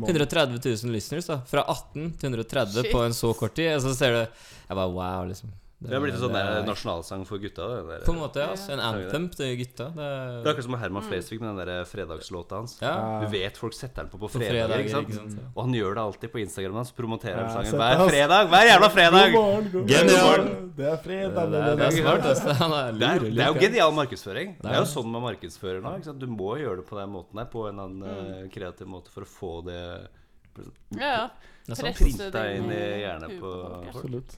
Speaker 3: 130 000 listeners, da. Fra 18 til 130
Speaker 2: Shit.
Speaker 3: på en så kort tid. Og så ser du Jeg bare wow, liksom.
Speaker 1: Det har blitt en sånn der
Speaker 3: er-
Speaker 1: nasjonalsang for gutta. Det, der.
Speaker 3: På en måte, ja. altså, En
Speaker 1: Ja.
Speaker 3: anthem til gutta. Det,
Speaker 1: det er akkurat som med Herman
Speaker 2: Mm.
Speaker 1: Flesvig med den der eh, fredagslåta hans.
Speaker 3: ja,
Speaker 1: Du vet folk setter den på på
Speaker 3: på
Speaker 1: fredager, ikke sant?
Speaker 3: sant?
Speaker 1: Og han gjør det alltid på Instagram hans. Promoterer han
Speaker 4: Ja,
Speaker 1: sangen
Speaker 4: sett
Speaker 1: hver
Speaker 4: oss.
Speaker 1: fredag! Hver jævla fredag!
Speaker 4: God morgen, god
Speaker 3: Genial.
Speaker 4: morgen. Det er fredag.
Speaker 3: Det, er- det er smart, altså. Han er
Speaker 1: Det er, det
Speaker 3: lur.
Speaker 1: er jo
Speaker 3: lur, ja.
Speaker 1: genial markedsføring. Det er
Speaker 3: Ja.
Speaker 1: jo sånn man markedsfører nå. Ikke sant? Du må gjøre det på den måten der, på en annen eh, kreativ måte for å få det
Speaker 2: Ja, ja.
Speaker 3: Det er sant.
Speaker 2: Presse
Speaker 1: printa
Speaker 2: det
Speaker 1: inn i
Speaker 2: i
Speaker 1: hjernen
Speaker 2: huet
Speaker 1: på
Speaker 2: på folk, ja.
Speaker 1: folk.
Speaker 4: Absolutt.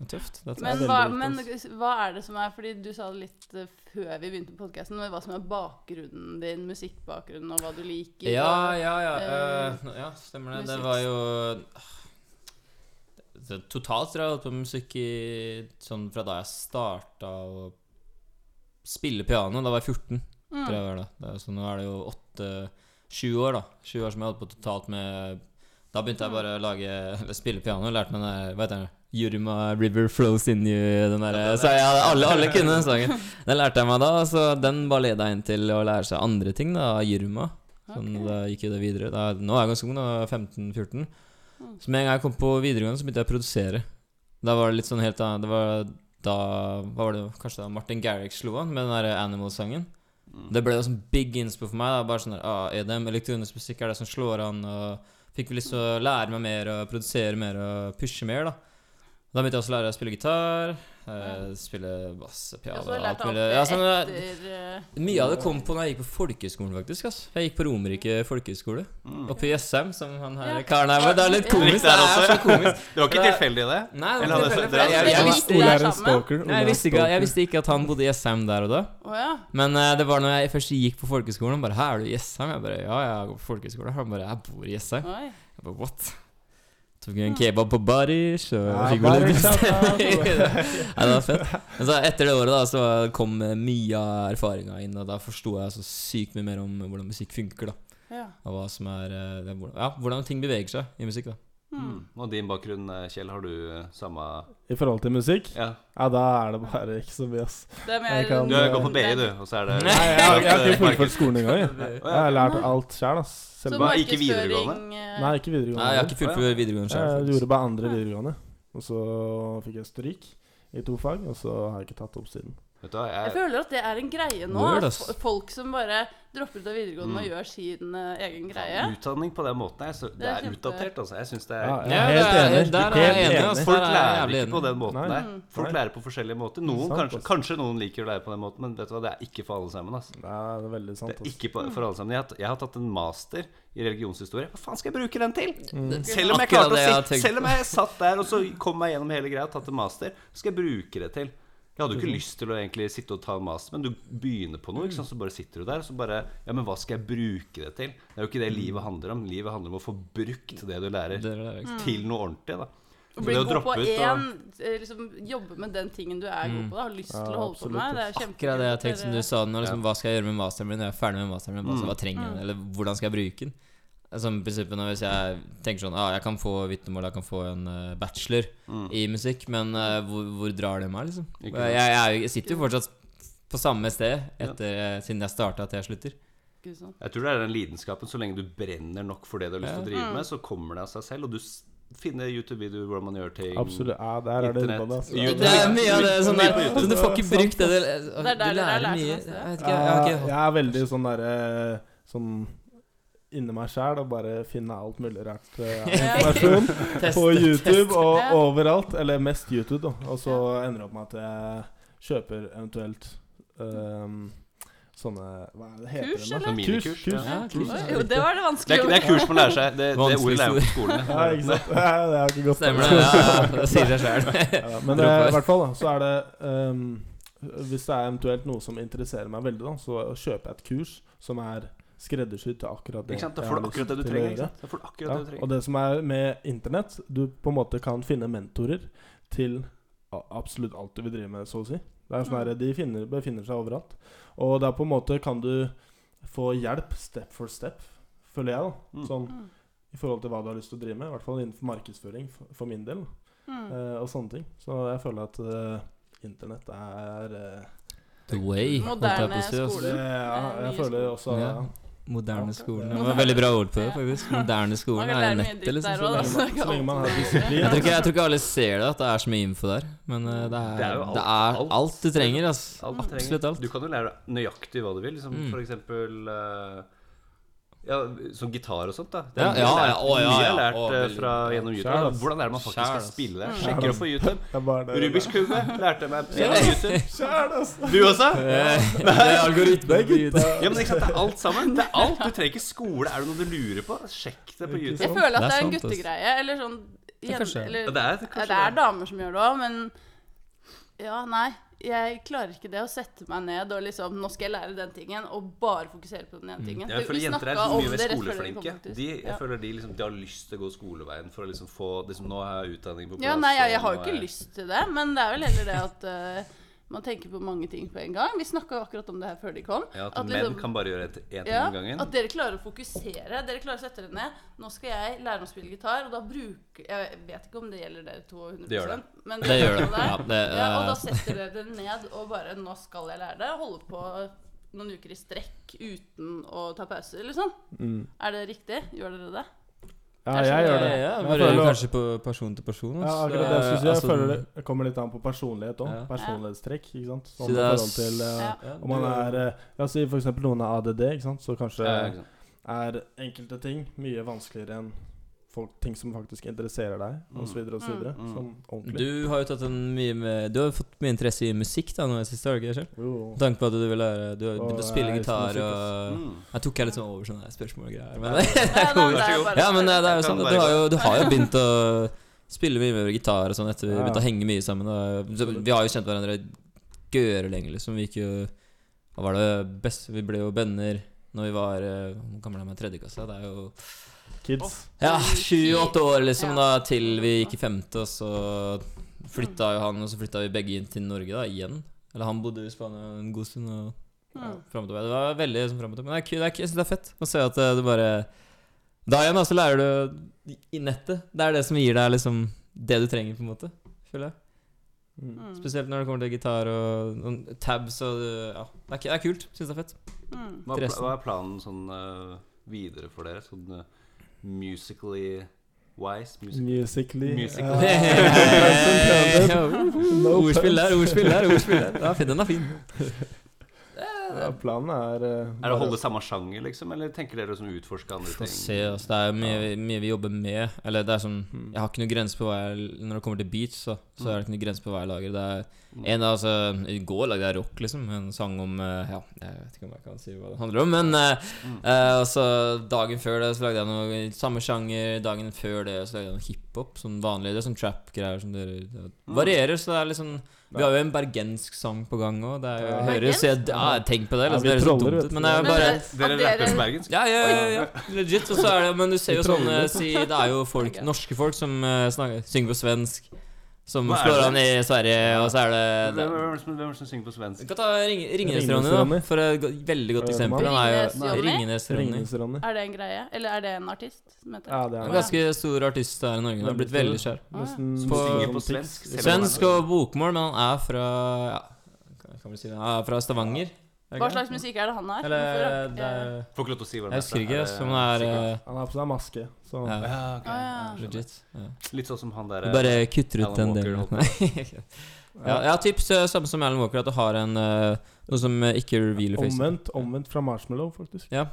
Speaker 3: Det er Tøft. Det er tøft.
Speaker 4: er
Speaker 2: Men
Speaker 4: veldig
Speaker 2: hva,
Speaker 4: viktig,
Speaker 2: men hva er det som er Fordi du sa det litt eh, før vi begynte podkasten, hva som er bakgrunnen din, musikkbakgrunnen, og hva du liker.
Speaker 3: Ja,
Speaker 2: og-
Speaker 3: ja, ja.
Speaker 2: eh,
Speaker 3: eh, ja, stemmer det. Det
Speaker 2: musikk.
Speaker 3: var jo det, Totalt tror jeg jeg har holdt på med musikk i, sånn fra da jeg starta å spille piano. Da var jeg 14. Tror jeg var det. det er, så nå er det jo åtte Sju år, da. Sju år som jeg har holdt på totalt med Da begynte jeg bare å lage Eller spille piano. Lærte meg den der Hva heter den? Yurima River Flows In You. Den der, så jeg, alle, alle kunne den sangen. Den lærte jeg meg da, så den bare leda inn til å lære seg andre ting, da. Yurima. Sånn, Da gikk jo det videre. Da, nå er jeg ganske ung, da. 15-14.
Speaker 2: Mm.
Speaker 3: Så med en gang jeg kom på videregående, så begynte jeg å produsere. Da var det litt sånn helt annet Det var da hva var det, Kanskje da Martin Garrix slo an med den der Animal-sangen.
Speaker 2: Mm.
Speaker 3: Det ble jo sånn big inspo for meg. Da. Bare sånn der, ah, EDM, elektronisk musikk er det som slår an. Og fikk lyst til å
Speaker 2: Mm.
Speaker 3: lære meg mer og produsere mer og pushe mer, da. Da begynte jeg også å lære å spille gitar, eh, spille bass,
Speaker 2: Og
Speaker 3: piano,
Speaker 2: så har Altså, du lært
Speaker 3: alt
Speaker 2: alt
Speaker 3: mulig.
Speaker 2: det
Speaker 3: Ja, sånn, eh,
Speaker 2: etter eh,
Speaker 3: mye av det kom på når jeg gikk på folkehøyskolen, faktisk. Ass. Jeg gikk på Romerike folkehøyskole. Oppe i Jessheim, som han her
Speaker 2: Ja.
Speaker 3: karen her med. Det er litt
Speaker 2: Ja.
Speaker 3: komisk.
Speaker 1: Riktig
Speaker 3: Det
Speaker 1: her
Speaker 3: er så komisk.
Speaker 1: Det var ikke
Speaker 3: Det er-
Speaker 1: tilfeldig, det?
Speaker 3: Nei, det
Speaker 1: Eller
Speaker 3: var
Speaker 1: hadde-
Speaker 3: tilfeldig, for
Speaker 1: dere hadde-
Speaker 3: jeg, jeg,
Speaker 2: Dere
Speaker 3: jeg,
Speaker 2: visste-
Speaker 4: Ole
Speaker 2: der
Speaker 4: er en
Speaker 2: sammen.
Speaker 4: stalker. Ole
Speaker 3: Nei, jeg,
Speaker 4: er en
Speaker 3: visste ikke, jeg
Speaker 4: stalker.
Speaker 3: visste ikke at han bodde i Jessheim der og da.
Speaker 2: Å ja.
Speaker 3: Men eh, det var når jeg først gikk på folkehøyskolen. Han bare 'Her er du i Jessheim?' Jeg bare 'Ja, jeg går på folkehøyskole'. Han bare 'Jeg bor i Jessheim'.
Speaker 2: Oi.
Speaker 3: Jeg bare 'What?' Tok en kebab på Barish og
Speaker 4: Ja,
Speaker 3: fikk meg litt
Speaker 4: Barish, ja,
Speaker 3: Nei, det var fett. Men så etter det året da Så kom eh, mye av erfaringa inn, og da forsto jeg så sykt mye mer om hvordan musikk funker. da
Speaker 2: Ja.
Speaker 3: Og hva som er eh, det, hvordan, Ja, hvordan ting beveger seg i musikk, da.
Speaker 2: Hmm.
Speaker 1: Mm. Og din bakgrunn, eh, Kjell, har du eh, samme
Speaker 4: I forhold til musikk?
Speaker 1: Ja.
Speaker 4: Ja, da er det bare ikke så mye, ass.
Speaker 2: Det er mer
Speaker 4: Jeg kan-
Speaker 1: Du
Speaker 2: eh,
Speaker 4: har
Speaker 1: går på BI, du, og så er det
Speaker 3: Nei,
Speaker 4: Jeg, har- jeg har ikke fullført skolen engang. jeg.
Speaker 1: Å,
Speaker 4: Jeg
Speaker 1: ja.
Speaker 4: har lært alt sjøl, ass.
Speaker 2: Så
Speaker 4: Selv
Speaker 1: Hva,
Speaker 4: bare
Speaker 1: ikke
Speaker 2: markedsføring, eh,
Speaker 4: Nei, ikke
Speaker 3: Nei, jeg har
Speaker 4: videregående.
Speaker 3: ikke fullført videregående
Speaker 4: Jeg
Speaker 3: sjøl.
Speaker 4: Eh, gjorde bare andre videregående. Og så fikk jeg historikk i to fag, og så har jeg ikke tatt opp siden.
Speaker 1: Vet du hva,
Speaker 2: Jeg
Speaker 1: jeg,
Speaker 2: føler at det er en greie nå.
Speaker 3: Word,
Speaker 2: at
Speaker 3: ass.
Speaker 2: fo- folk som bare dropper ut av videregående og gjør sin eh, egen greie.
Speaker 1: utdanning på den måten her, så det
Speaker 2: er
Speaker 1: er
Speaker 2: kjempe-
Speaker 1: utdatert, altså. Jeg syns det er
Speaker 4: Ja,
Speaker 1: altså,
Speaker 4: jeg er helt enig.
Speaker 3: Der er
Speaker 4: Helt
Speaker 3: jeg enig.
Speaker 4: enig.
Speaker 3: ass.
Speaker 1: Folk
Speaker 3: Der er jeg
Speaker 1: lærer
Speaker 3: jævlig
Speaker 1: ikke på
Speaker 3: enig.
Speaker 1: den måten
Speaker 4: Nei.
Speaker 1: der. Folk lærer på forskjellige måter. Noen,
Speaker 4: Sant,
Speaker 1: kanskje,
Speaker 4: ass.
Speaker 1: kanskje noen liker å lære på den måten, men vet du hva, det er ikke for alle sammen. altså. ass.
Speaker 4: Det er veldig sant. altså.
Speaker 1: Det er
Speaker 4: ass.
Speaker 1: ikke
Speaker 3: Mm.
Speaker 1: på- for alle sammen. Jeg har, jeg har tatt en master i religionshistorie. Hva faen skal jeg bruke den til?
Speaker 3: Mm.
Speaker 1: Selv om jeg
Speaker 3: Akkurat
Speaker 1: klarte å
Speaker 3: det jeg har
Speaker 1: sitte,
Speaker 3: tenkt
Speaker 1: selv om jeg satt der og så kom meg gjennom hele greia og tatt en master, hva skal jeg bruke det til? Jeg hadde jo
Speaker 3: Mhm.
Speaker 1: ikke lyst til å egentlig sitte og ta en master, men du begynner på noe, ikke sant? så bare sitter du der og så bare Ja, men hva skal jeg bruke det til? Det er jo ikke det livet handler om. Livet handler om å få brukt det du lærer,
Speaker 3: Mm. Det er-
Speaker 1: til noe ordentlig, da. Så
Speaker 2: Bli
Speaker 1: det å
Speaker 2: god på
Speaker 1: droppe ut og-
Speaker 2: én, eh, liksom, jobbe med den tingen du er god på, da, har lyst til å holde på
Speaker 4: absolutt,
Speaker 2: med. Det er jo
Speaker 3: Akkurat det jeg tenkte som du
Speaker 2: kjempekult.
Speaker 3: sa nå. Liksom, Hva skal jeg gjøre med masteren min når jeg er ferdig med masteren min? Hva,
Speaker 4: Mm.
Speaker 3: hva trenger
Speaker 2: Mm.
Speaker 3: jeg, eller hvordan skal jeg bruke den? Som i prinsippet når Hvis jeg tenker sånn ah, Jeg kan få vitnemål, jeg kan få en eh, bachelor
Speaker 4: Mm.
Speaker 3: i musikk, men eh, hvor, hvor drar det meg, liksom?
Speaker 1: Ikke
Speaker 3: Jeg, jeg, er jo- jeg sitter jo fortsatt på samme sted etter, eh, siden jeg starta til jeg slutter.
Speaker 2: Ikke sant?
Speaker 1: Jeg tror det er den lidenskapen. Så lenge du brenner nok for det du har lyst til å drive med, så kommer det av seg selv. Og du s- finner YouTube-videoer hvordan man gjør ting.
Speaker 4: Absolutt. Ja, der er det altså. inne på det. ass.
Speaker 1: Internett.
Speaker 3: Det er mye av det sånn der Så du får ikke brukt det du
Speaker 2: Det er der dere
Speaker 3: Du lærer
Speaker 2: lærte
Speaker 3: mye
Speaker 2: masse.
Speaker 3: Jeg vet ikke, jeg har
Speaker 4: Jeg,
Speaker 3: ikke
Speaker 4: jeg er veldig sånn derre Sånn inni meg sjæl og bare finne alt mulig rart eh,
Speaker 2: Ja.
Speaker 4: informasjon
Speaker 3: Test,
Speaker 4: på YouTube
Speaker 2: Ja.
Speaker 4: og overalt. Eller mest YouTube, da. Og så ender det opp med at jeg kjøper eventuelt ehm, sånne Hva er det det heter
Speaker 2: Kurs,
Speaker 4: igjen da?
Speaker 1: Sånn
Speaker 4: Kurs,
Speaker 1: minikurs.
Speaker 4: kurs,
Speaker 3: Ja,
Speaker 4: kurs.
Speaker 3: kurs.
Speaker 2: Jo, det var det
Speaker 1: Det, er, det
Speaker 2: vanskelige.
Speaker 1: er kurs man lærer seg. Det, det ordet
Speaker 3: Vanskelig
Speaker 1: lærer man på skolen.
Speaker 4: Ja, ikke sant. Ja, det er ikke godt.
Speaker 3: Stemmer det. Ja, det sier seg sjøl.
Speaker 4: Ja, men
Speaker 3: Tror
Speaker 4: eh,
Speaker 3: på
Speaker 4: i
Speaker 3: det.
Speaker 4: hvert fall da, så er det ehm, Hvis det er eventuelt noe som interesserer meg veldig, da, så kjøper jeg et kurs som er skreddersydd til akkurat det.
Speaker 1: Ikke sant? Da
Speaker 4: jeg
Speaker 1: får
Speaker 4: har
Speaker 1: du akkurat det
Speaker 4: lyst
Speaker 1: du
Speaker 4: til å
Speaker 1: trenger. Ikke
Speaker 4: gjøre.
Speaker 1: sant? Da får du akkurat
Speaker 4: Ja,
Speaker 1: det du
Speaker 4: og
Speaker 1: trenger.
Speaker 4: det som er med internett, du på en måte kan finne mentorer til a- absolutt alt du
Speaker 1: Mm.
Speaker 4: vil drive med, så å si. Det er sånn her, De finner, befinner seg overalt. Og da på en måte kan du få hjelp step for step, føler jeg, da.
Speaker 1: Mm.
Speaker 4: Sånn
Speaker 2: Mm.
Speaker 4: i forhold til hva du har lyst til å drive med, i hvert fall innenfor markedsføring for, for min del,
Speaker 2: Mm.
Speaker 4: eh, og sånne ting. Så jeg føler at eh, internett er eh,
Speaker 3: The way. holdt jeg på å
Speaker 2: Moderne
Speaker 3: si, altså.
Speaker 4: det,
Speaker 2: skolen.
Speaker 4: ja,
Speaker 2: Det er mye
Speaker 4: Jeg føler
Speaker 2: skole.
Speaker 4: også
Speaker 3: Ja. Moderne
Speaker 4: Ja.
Speaker 3: skolen. Det var veldig bra ord på det, faktisk. Moderne
Speaker 2: Man
Speaker 3: skolen
Speaker 2: kan
Speaker 3: er
Speaker 2: lære mye
Speaker 3: nettet,
Speaker 2: dritt
Speaker 3: liksom.
Speaker 2: der
Speaker 3: Så
Speaker 2: også,
Speaker 3: det
Speaker 2: da.
Speaker 4: så lenge, så lenge man har disiplin.
Speaker 3: Jeg tror, ikke, jeg tror ikke alle ser det, at det er så mye info der. Men eh, det er,
Speaker 1: Det er jo alt.
Speaker 3: det er
Speaker 1: Alt.
Speaker 3: alt du trenger. Altså.
Speaker 1: Alt du trenger.
Speaker 3: Absolutt alt.
Speaker 1: Du kan jo lære deg nøyaktig hva du vil. Liksom,
Speaker 3: Mm.
Speaker 1: For eksempel eh, ja, som gitar og sånt. da
Speaker 3: Ja,
Speaker 1: mye
Speaker 3: ja,
Speaker 1: jeg har
Speaker 3: ja,
Speaker 1: lært-
Speaker 3: å, ja,
Speaker 1: mye jeg har
Speaker 3: ja,
Speaker 1: lært
Speaker 3: å,
Speaker 1: eh,
Speaker 3: veldig
Speaker 1: fra,
Speaker 3: bra.
Speaker 1: gjennom YouTube.
Speaker 4: Kjæl,
Speaker 1: Da.
Speaker 4: ass.
Speaker 1: Hvordan er det man faktisk
Speaker 3: Kjæl,
Speaker 1: skal
Speaker 3: ass.
Speaker 1: spille det?
Speaker 2: Mm.
Speaker 1: Sjekker opp på YouTube.
Speaker 4: Det er bare det.
Speaker 1: Rubiks kube lærte jeg meg
Speaker 3: Ja.
Speaker 1: gjennom YouTube.
Speaker 4: Kjære, altså!
Speaker 1: Du også?
Speaker 3: Eh, Det er algoritme.
Speaker 4: Det er gutta.
Speaker 1: Ja, men ikke sant, Det er alt sammen. Det er alt. Du trenger ikke skole. Er det noe du lurer på? Sjekk det på
Speaker 4: Ikke
Speaker 1: YouTube.
Speaker 2: Jeg
Speaker 4: sant?
Speaker 2: føler at
Speaker 3: Det
Speaker 2: det er en
Speaker 3: er sant, ass.
Speaker 2: guttegreie. Eller sånn
Speaker 3: er kanskje det.
Speaker 2: jen- eller-
Speaker 1: Ja, det er
Speaker 2: Ja,
Speaker 1: kanskje
Speaker 2: det er
Speaker 1: det.
Speaker 2: damer som gjør det òg, men Ja, nei. Jeg klarer ikke det å sette meg ned og liksom Nå skal jeg lære den tingen, og bare fokusere på den ene tingen.
Speaker 1: Jeg
Speaker 2: Vi-
Speaker 1: føler
Speaker 2: vi
Speaker 1: Mm. jenter er
Speaker 2: snakket
Speaker 1: liksom
Speaker 2: om
Speaker 1: mye mer
Speaker 2: det rett før dere kom,
Speaker 1: skoleflinke.
Speaker 2: faktisk.
Speaker 1: De, jeg
Speaker 2: ja.
Speaker 1: føler de, liksom, de har lyst til å gå skoleveien for å liksom få liksom, Nå har jeg utdanning på plass.
Speaker 2: ja, nei, jeg, jeg
Speaker 1: og
Speaker 2: har jo
Speaker 1: nå
Speaker 3: eh,
Speaker 2: ikke
Speaker 1: er-
Speaker 2: lyst til det, men det er vel heller det at eh, man tenker på mange ting på en gang. Vi snakka akkurat om det her før de kom.
Speaker 1: Ja, at,
Speaker 2: At
Speaker 1: menn
Speaker 2: liksom-
Speaker 1: kan bare gjøre ett- én ting
Speaker 2: Ja,
Speaker 1: om gangen.
Speaker 2: at dere klarer å fokusere. Dere klarer å sette dere ned. Nå skal jeg lære meg å spille gitar, og da bruker Jeg vet ikke om det gjelder dere to 100
Speaker 1: Det gjør det.
Speaker 2: Men
Speaker 3: Det gjør det.
Speaker 2: er
Speaker 3: Ja, det
Speaker 2: Ja, og da
Speaker 3: eh,
Speaker 2: setter dere dere ned og bare 'Nå skal jeg lære det.' Holde på noen uker i strekk uten å ta pause, eller sånn.
Speaker 4: Mm.
Speaker 2: Er det riktig? Gjør dere det?
Speaker 4: Ja, jeg gjør det.
Speaker 3: ja, ja,
Speaker 4: Men jeg
Speaker 3: Bare
Speaker 4: føler-
Speaker 3: kanskje på person til person.
Speaker 4: Ja,
Speaker 3: altså.
Speaker 4: akkurat det jeg skulle si. Jeg
Speaker 3: altså,
Speaker 4: føler det kommer litt an på personlighet òg.
Speaker 3: Ja.
Speaker 4: Personlighetstrekk. ikke sant?
Speaker 3: så
Speaker 4: Sånn i
Speaker 3: det er
Speaker 4: forhold til eh,
Speaker 2: Ja.
Speaker 3: ja,
Speaker 4: Om man er eh, La oss si f.eks. noen har ADD, ikke sant? så kanskje
Speaker 1: Ja, ikke sant.
Speaker 4: er enkelte ting mye vanskeligere enn folk, ting som faktisk interesserer deg, osv. osv.
Speaker 1: Mm. Mm.
Speaker 4: Sånn ordentlig.
Speaker 3: Du har jo tatt en mye med, Du har jo fått mye interesse i musikk da nå i det siste, har du ikke det? Kjell?
Speaker 4: Jo.
Speaker 3: Med tanke på at du vil lære Du har begynt å
Speaker 4: Å,
Speaker 3: spille
Speaker 4: jeg elsker
Speaker 3: gitar
Speaker 4: musikk,
Speaker 3: og
Speaker 1: Mm.
Speaker 3: Jeg tok jeg litt sånn over sånne spørsmål og greier. Men
Speaker 2: Nei, nei,
Speaker 1: Vær så
Speaker 2: det er
Speaker 1: god.
Speaker 2: bare-
Speaker 3: Ja, men det, det er jo
Speaker 1: Jeg kan
Speaker 3: sånn,
Speaker 1: bare
Speaker 3: du har
Speaker 1: gå.
Speaker 3: jo, du har jo begynt å spille mye med gitar og sånn etter vi
Speaker 4: Ja.
Speaker 3: begynte å henge mye sammen. Og, eh, så, vi har jo kjent hverandre gørre lenge, liksom. Vi gikk jo Hva var det best Vi ble jo venner når vi var eh, Hvor gammel er man i tredje klasse? Det er jo
Speaker 4: Kids.
Speaker 3: Ja, sju-åtte år, liksom,
Speaker 2: Ja.
Speaker 3: da til vi gikk i femte, og så flytta jo han, og så flytta vi begge inn til Norge, da, igjen. Eller han bodde i Spania en god stund, og ja,
Speaker 2: Mm.
Speaker 3: fram og tilbake. Det var veldig sånn fram og tilbake. Men det er, ku- det er, ku- jeg synes det er fett å se at eh, du bare Da igjen, da, så lærer du i nettet. Det er det som gir deg liksom det du trenger, på en måte. Føler jeg.
Speaker 4: Mm.
Speaker 2: Mm.
Speaker 3: Spesielt når det kommer til gitar og noen tabs og Ja, det er, ku- det er kult. Syns det er fett.
Speaker 1: Hva, er
Speaker 2: Mm.
Speaker 1: pla-
Speaker 3: Interessen.
Speaker 1: hva er planen sånn eh, videre for dere? Sånn eh, musically wise? Music
Speaker 4: Musically.
Speaker 1: Musical.
Speaker 4: eh, Nelson Pellet. No
Speaker 3: ordspill der,
Speaker 4: puns.
Speaker 3: ordspill der, ordspill der. Den er fin. Den er fin.
Speaker 4: Ja, planen er eh,
Speaker 3: Mm.
Speaker 1: er det å
Speaker 4: bare-
Speaker 1: holde samme sjanger, liksom? Eller tenker dere å sånn utforske andre
Speaker 3: Få
Speaker 1: ting?
Speaker 3: se, altså. Det er jo mye, mye vi jobber med. Eller det er sånn
Speaker 4: Mm.
Speaker 3: Jeg har ikke noen grense på hva jeg Når det kommer til beats, så, så er det ikke noen grense på hva jeg lager.
Speaker 1: Mm.
Speaker 3: Det
Speaker 4: Hmm.
Speaker 3: er en av altså, I går lagde jeg rock, liksom. En sang om eh, Ja, jeg vet ikke om jeg kan si hva det handler om, men eh,
Speaker 1: Mm.
Speaker 3: eh, altså, Dagen før det så lagde jeg noe i samme sjanger. Dagen før det så lagde jeg noe hiphop. Sånn vanlig. Det er sånn trap-greier som dere det
Speaker 4: Hmm.
Speaker 3: Varierer, så det er liksom Vi har jo en bergensk sang på gang òg. Det er jo
Speaker 4: Ja.
Speaker 3: høres jo Ja, tenk på det.
Speaker 4: Ja,
Speaker 3: Liksom,
Speaker 4: vi
Speaker 3: det høres så
Speaker 4: troller,
Speaker 3: dumt
Speaker 4: vet
Speaker 3: ut,
Speaker 4: du.
Speaker 3: men det er
Speaker 2: Men
Speaker 3: jo bare
Speaker 2: det-
Speaker 1: Dere
Speaker 2: at
Speaker 1: rapper bergensk?
Speaker 3: ja, ja, ja, ja. Legit. Og så er det Men du ser jo sånn eh, si, Det er jo folk, norske folk som eh, snakker, synger på svensk, som
Speaker 1: Hva er
Speaker 3: slår
Speaker 1: det?
Speaker 3: an i Sverige, og så er det,
Speaker 1: Hvem
Speaker 3: det
Speaker 1: hvem er det som, hvem er det som synger på
Speaker 3: Vi
Speaker 1: svensk?
Speaker 3: kan ta Ring- Ringenes-Ronny, da.
Speaker 4: Ringenes-Ronny.
Speaker 3: For et go- veldig godt
Speaker 4: Eh,
Speaker 3: eksempel. Han er jo
Speaker 2: Ringenes-Ronny?
Speaker 3: Ringenes-Ronny.
Speaker 4: Ringnes-Ronny.
Speaker 2: Er det en greie? Eller er det en artist som heter det?
Speaker 4: Ja, det
Speaker 3: Han er
Speaker 4: er
Speaker 3: en Ganske stor artist her i Norge. Han har blitt veldig skjær.
Speaker 4: Nesten
Speaker 1: Som
Speaker 3: På-
Speaker 1: synger på
Speaker 4: sånn tics.
Speaker 1: svensk? selv om han er-
Speaker 3: Svensk og bokmål, men han er fra ja, kan- Kan vi si det? Han er fra Stavanger. Er det
Speaker 2: Hva
Speaker 3: ikke
Speaker 2: slags
Speaker 3: det?
Speaker 2: musikk er det han har?
Speaker 3: Eller eh, det er,
Speaker 1: Får ikke lov til å si hva
Speaker 3: Jeg
Speaker 1: det
Speaker 3: husker ikke,
Speaker 1: Er det-
Speaker 3: ass, men han er eh,
Speaker 4: Han har på seg maske, så
Speaker 3: ja,
Speaker 1: Ja, ok.
Speaker 2: Ah,
Speaker 1: Jeg
Speaker 2: ja.
Speaker 1: skjønner.
Speaker 3: Legit. Ja.
Speaker 1: Litt sånn som han
Speaker 3: Du
Speaker 1: derre
Speaker 3: bare kutter ut
Speaker 1: Alan
Speaker 3: den
Speaker 1: Walker,
Speaker 3: delen.
Speaker 1: holdt
Speaker 3: Nei. ja, ja, tips eh, samme som Alan Walker, at du har en eh, noe som eh, ikke revealer face.
Speaker 4: Omvendt, omvendt fra marshmallow, faktisk.
Speaker 3: Ja.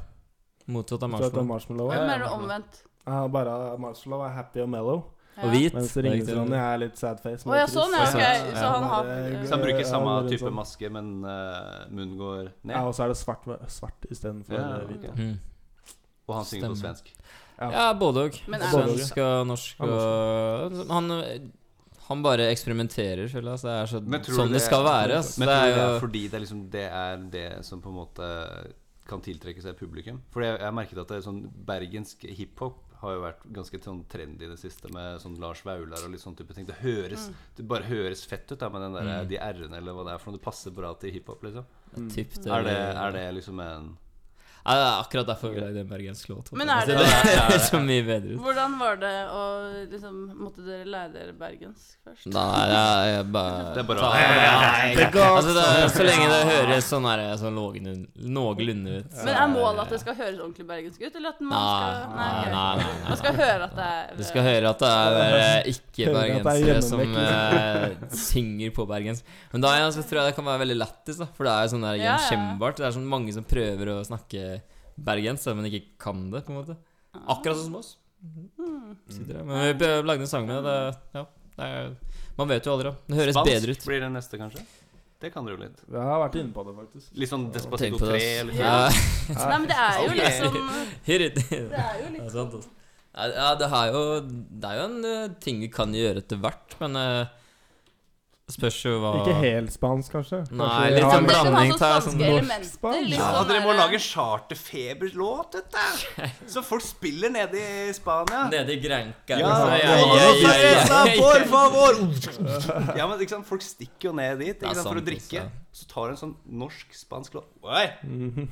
Speaker 3: Motsatt av
Speaker 4: Så heter det
Speaker 3: marshmallow.
Speaker 4: marshmallow
Speaker 1: Ja,
Speaker 2: Hvem
Speaker 1: ja,
Speaker 2: er det
Speaker 1: ja.
Speaker 2: omvendt?
Speaker 4: Ja, bare marshmallow er happy og mellow.
Speaker 2: Ja.
Speaker 3: Og hvit.
Speaker 4: Mens
Speaker 3: Det er ikke-
Speaker 4: Ringnes-Ronny er litt sadface.
Speaker 2: Å ja, sånn, ja.
Speaker 3: Ja,
Speaker 2: Ok,
Speaker 3: ja.
Speaker 2: så han har
Speaker 4: Bare-
Speaker 1: Så han eh, bruker
Speaker 4: Ja,
Speaker 1: samme
Speaker 4: det er
Speaker 1: type
Speaker 4: sånn.
Speaker 1: maske, men eh, munnen går
Speaker 4: Ja,
Speaker 1: ned?
Speaker 4: og så er det svart, med- svart istedenfor
Speaker 1: Ja,
Speaker 4: eh, hvit.
Speaker 1: ok.
Speaker 3: Mm.
Speaker 1: Og han synger på
Speaker 3: Stemmer.
Speaker 1: svensk?
Speaker 3: Ja, både òg.
Speaker 2: Men
Speaker 4: er-
Speaker 3: Svensk og norsk
Speaker 4: Ja,
Speaker 3: og Han, han bare eksperimenterer, føler jeg. ass. Det er så,
Speaker 1: Men tror du
Speaker 3: sånn det,
Speaker 1: det-
Speaker 3: skal være. ass.
Speaker 1: Men
Speaker 3: det
Speaker 1: tror du
Speaker 3: er
Speaker 1: det er
Speaker 3: jo
Speaker 1: fordi det er, liksom, det er det som på en måte kan tiltrekke seg publikum? For jeg jeg har merket at det er sånn bergensk hiphop har jo vært ganske sånn trendy i det siste, med sånn Lars Vaular og litt sånn type ting. Det høres
Speaker 2: Mm.
Speaker 1: Det bare høres fett ut da, med den der,
Speaker 3: Mm.
Speaker 1: de r-ene eller hva det er for noe. Det passer bra til hiphop, liksom.
Speaker 4: Mm.
Speaker 3: Typ,
Speaker 1: Er det, er det liksom en
Speaker 3: Nei, det er akkurat derfor vi lagde en bergensk låt.
Speaker 2: Men er det-
Speaker 3: det høres så mye bedre ut.
Speaker 2: Hvordan var det å liksom Måtte dere lære dere bergensk først?
Speaker 3: Nei, jeg, jeg bare
Speaker 1: Det er bare-
Speaker 3: Nei,
Speaker 4: Det går
Speaker 3: altså, det, Så lenge det høres sånn her sånn noenlunde- noenlunde ut. så
Speaker 2: Men er målet at det
Speaker 3: det
Speaker 2: skal høres ordentlig bergensk ut, eller at man
Speaker 3: Nei,
Speaker 2: skal
Speaker 3: nei,
Speaker 2: ok.
Speaker 3: nei, nei,
Speaker 2: Man skal høre at det er
Speaker 3: Du skal høre at det er eh, ikke
Speaker 4: Hører at det er
Speaker 3: bergensere som
Speaker 4: gjennomvekt,
Speaker 3: eh, synger på bergensk. Men da igjen så tror jeg det kan være veldig lættis, da, for det er jo sånn der
Speaker 2: Ja, ja.
Speaker 3: gjenkjennbart. Det er sånn mange som prøver å snakke bergensk, da, men ikke kan det, på en måte.
Speaker 2: Ah.
Speaker 3: Akkurat sånn som oss.
Speaker 2: Hmm.
Speaker 3: Sitter der. Men vi b- lagde en sang med det. det- Ja, det er, man vet jo aldri. da. Det høres bedre ut.
Speaker 1: blir det neste, kanskje? Det kan dere jo litt.
Speaker 4: Jeg har vært inne på det, faktisk.
Speaker 1: Litt sånn
Speaker 3: Tenk
Speaker 1: Despacito
Speaker 3: på
Speaker 1: 3
Speaker 3: det.
Speaker 1: eller
Speaker 3: ass.
Speaker 1: noe.
Speaker 3: Ja,
Speaker 2: Nei, men det er jo
Speaker 1: Ok.
Speaker 2: liksom
Speaker 3: hit it.
Speaker 2: Det er jo
Speaker 3: Det
Speaker 2: litt
Speaker 3: er sant, altså. Ja, ja, det, er jo, det er jo en eh, ting vi kan gjøre etter hvert, men eh, spørs jo hva
Speaker 4: Ikke helt spansk, kanskje?
Speaker 3: Nei,
Speaker 4: Kanskje vi
Speaker 3: litt
Speaker 4: har-
Speaker 3: sånn
Speaker 2: Men det kan ha
Speaker 3: blanding,
Speaker 2: sånn
Speaker 3: ta
Speaker 2: spanske
Speaker 3: sånn
Speaker 4: norsk
Speaker 2: elementer.
Speaker 4: spansk.
Speaker 2: litt
Speaker 1: Ja,
Speaker 2: sånn
Speaker 1: dere må
Speaker 2: der-
Speaker 1: lage charterfeberlåt, dette! Så folk spiller nede i Spania.
Speaker 3: Nede i Granca.
Speaker 1: Ja,
Speaker 3: liksom.
Speaker 1: ja,
Speaker 4: ja,
Speaker 1: ja,
Speaker 4: ja,
Speaker 1: ja, por favor! Ja, men ikke sant, Folk stikker jo ned dit
Speaker 3: Det
Speaker 1: ikke
Speaker 3: er
Speaker 1: sant, for å
Speaker 3: sant,
Speaker 1: drikke.
Speaker 3: altså.
Speaker 1: Så tar de en sånn norsk-spansk låt Oi!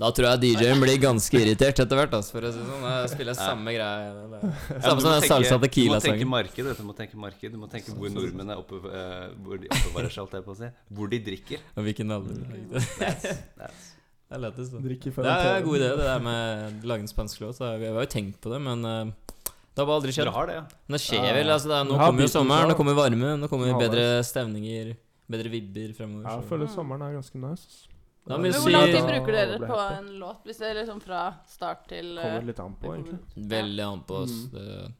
Speaker 3: Da tror jeg DJ-en blir ganske irritert etter hvert. Altså, for å si det sånn, Jeg spiller samme greie. det er-
Speaker 1: Ja,
Speaker 3: Samme
Speaker 1: du
Speaker 3: som
Speaker 1: må
Speaker 3: den
Speaker 1: tenke-
Speaker 3: salsa
Speaker 1: Du må tenke
Speaker 3: tequila-sangen.
Speaker 1: marked, vet du. du må tenke marked Du må tenke hvor nordmenn er oppe eh, Hvor de oppbevarer seg, holdt jeg på å si. Hvor de drikker.
Speaker 3: Og hvilken alder du lagde.
Speaker 1: Det er-
Speaker 3: Det er lettest, da.
Speaker 4: Drikke før
Speaker 3: Det er
Speaker 4: han
Speaker 3: en
Speaker 4: tør.
Speaker 3: god idé, det der med å lage en spansk låt. da. Vi har jo tenkt på det, men eh, det har bare aldri skjedd.
Speaker 1: Dere har det, ja.
Speaker 3: Men det skjer
Speaker 4: Ja.
Speaker 3: vel. altså det er, Nå
Speaker 4: Vi har
Speaker 3: kommer jo
Speaker 4: biten
Speaker 3: sommeren,
Speaker 4: klar.
Speaker 3: nå kommer varme, nå kommer
Speaker 4: Ja,
Speaker 3: bedre stemninger, bedre vibber fremover.
Speaker 4: Ja,
Speaker 3: så-
Speaker 4: jeg føler sommeren er ganske nice. ass.
Speaker 3: Da må vi
Speaker 2: Men
Speaker 3: si-
Speaker 2: hvor lang tid
Speaker 4: Ja,
Speaker 2: bruker
Speaker 4: det
Speaker 2: dere
Speaker 4: blir
Speaker 2: på
Speaker 4: happy.
Speaker 2: en låt? Hvis det er liksom fra start til eh,
Speaker 4: Kommer litt an på, egentlig.
Speaker 3: Veldig an på oss.
Speaker 4: Mm.
Speaker 3: Det-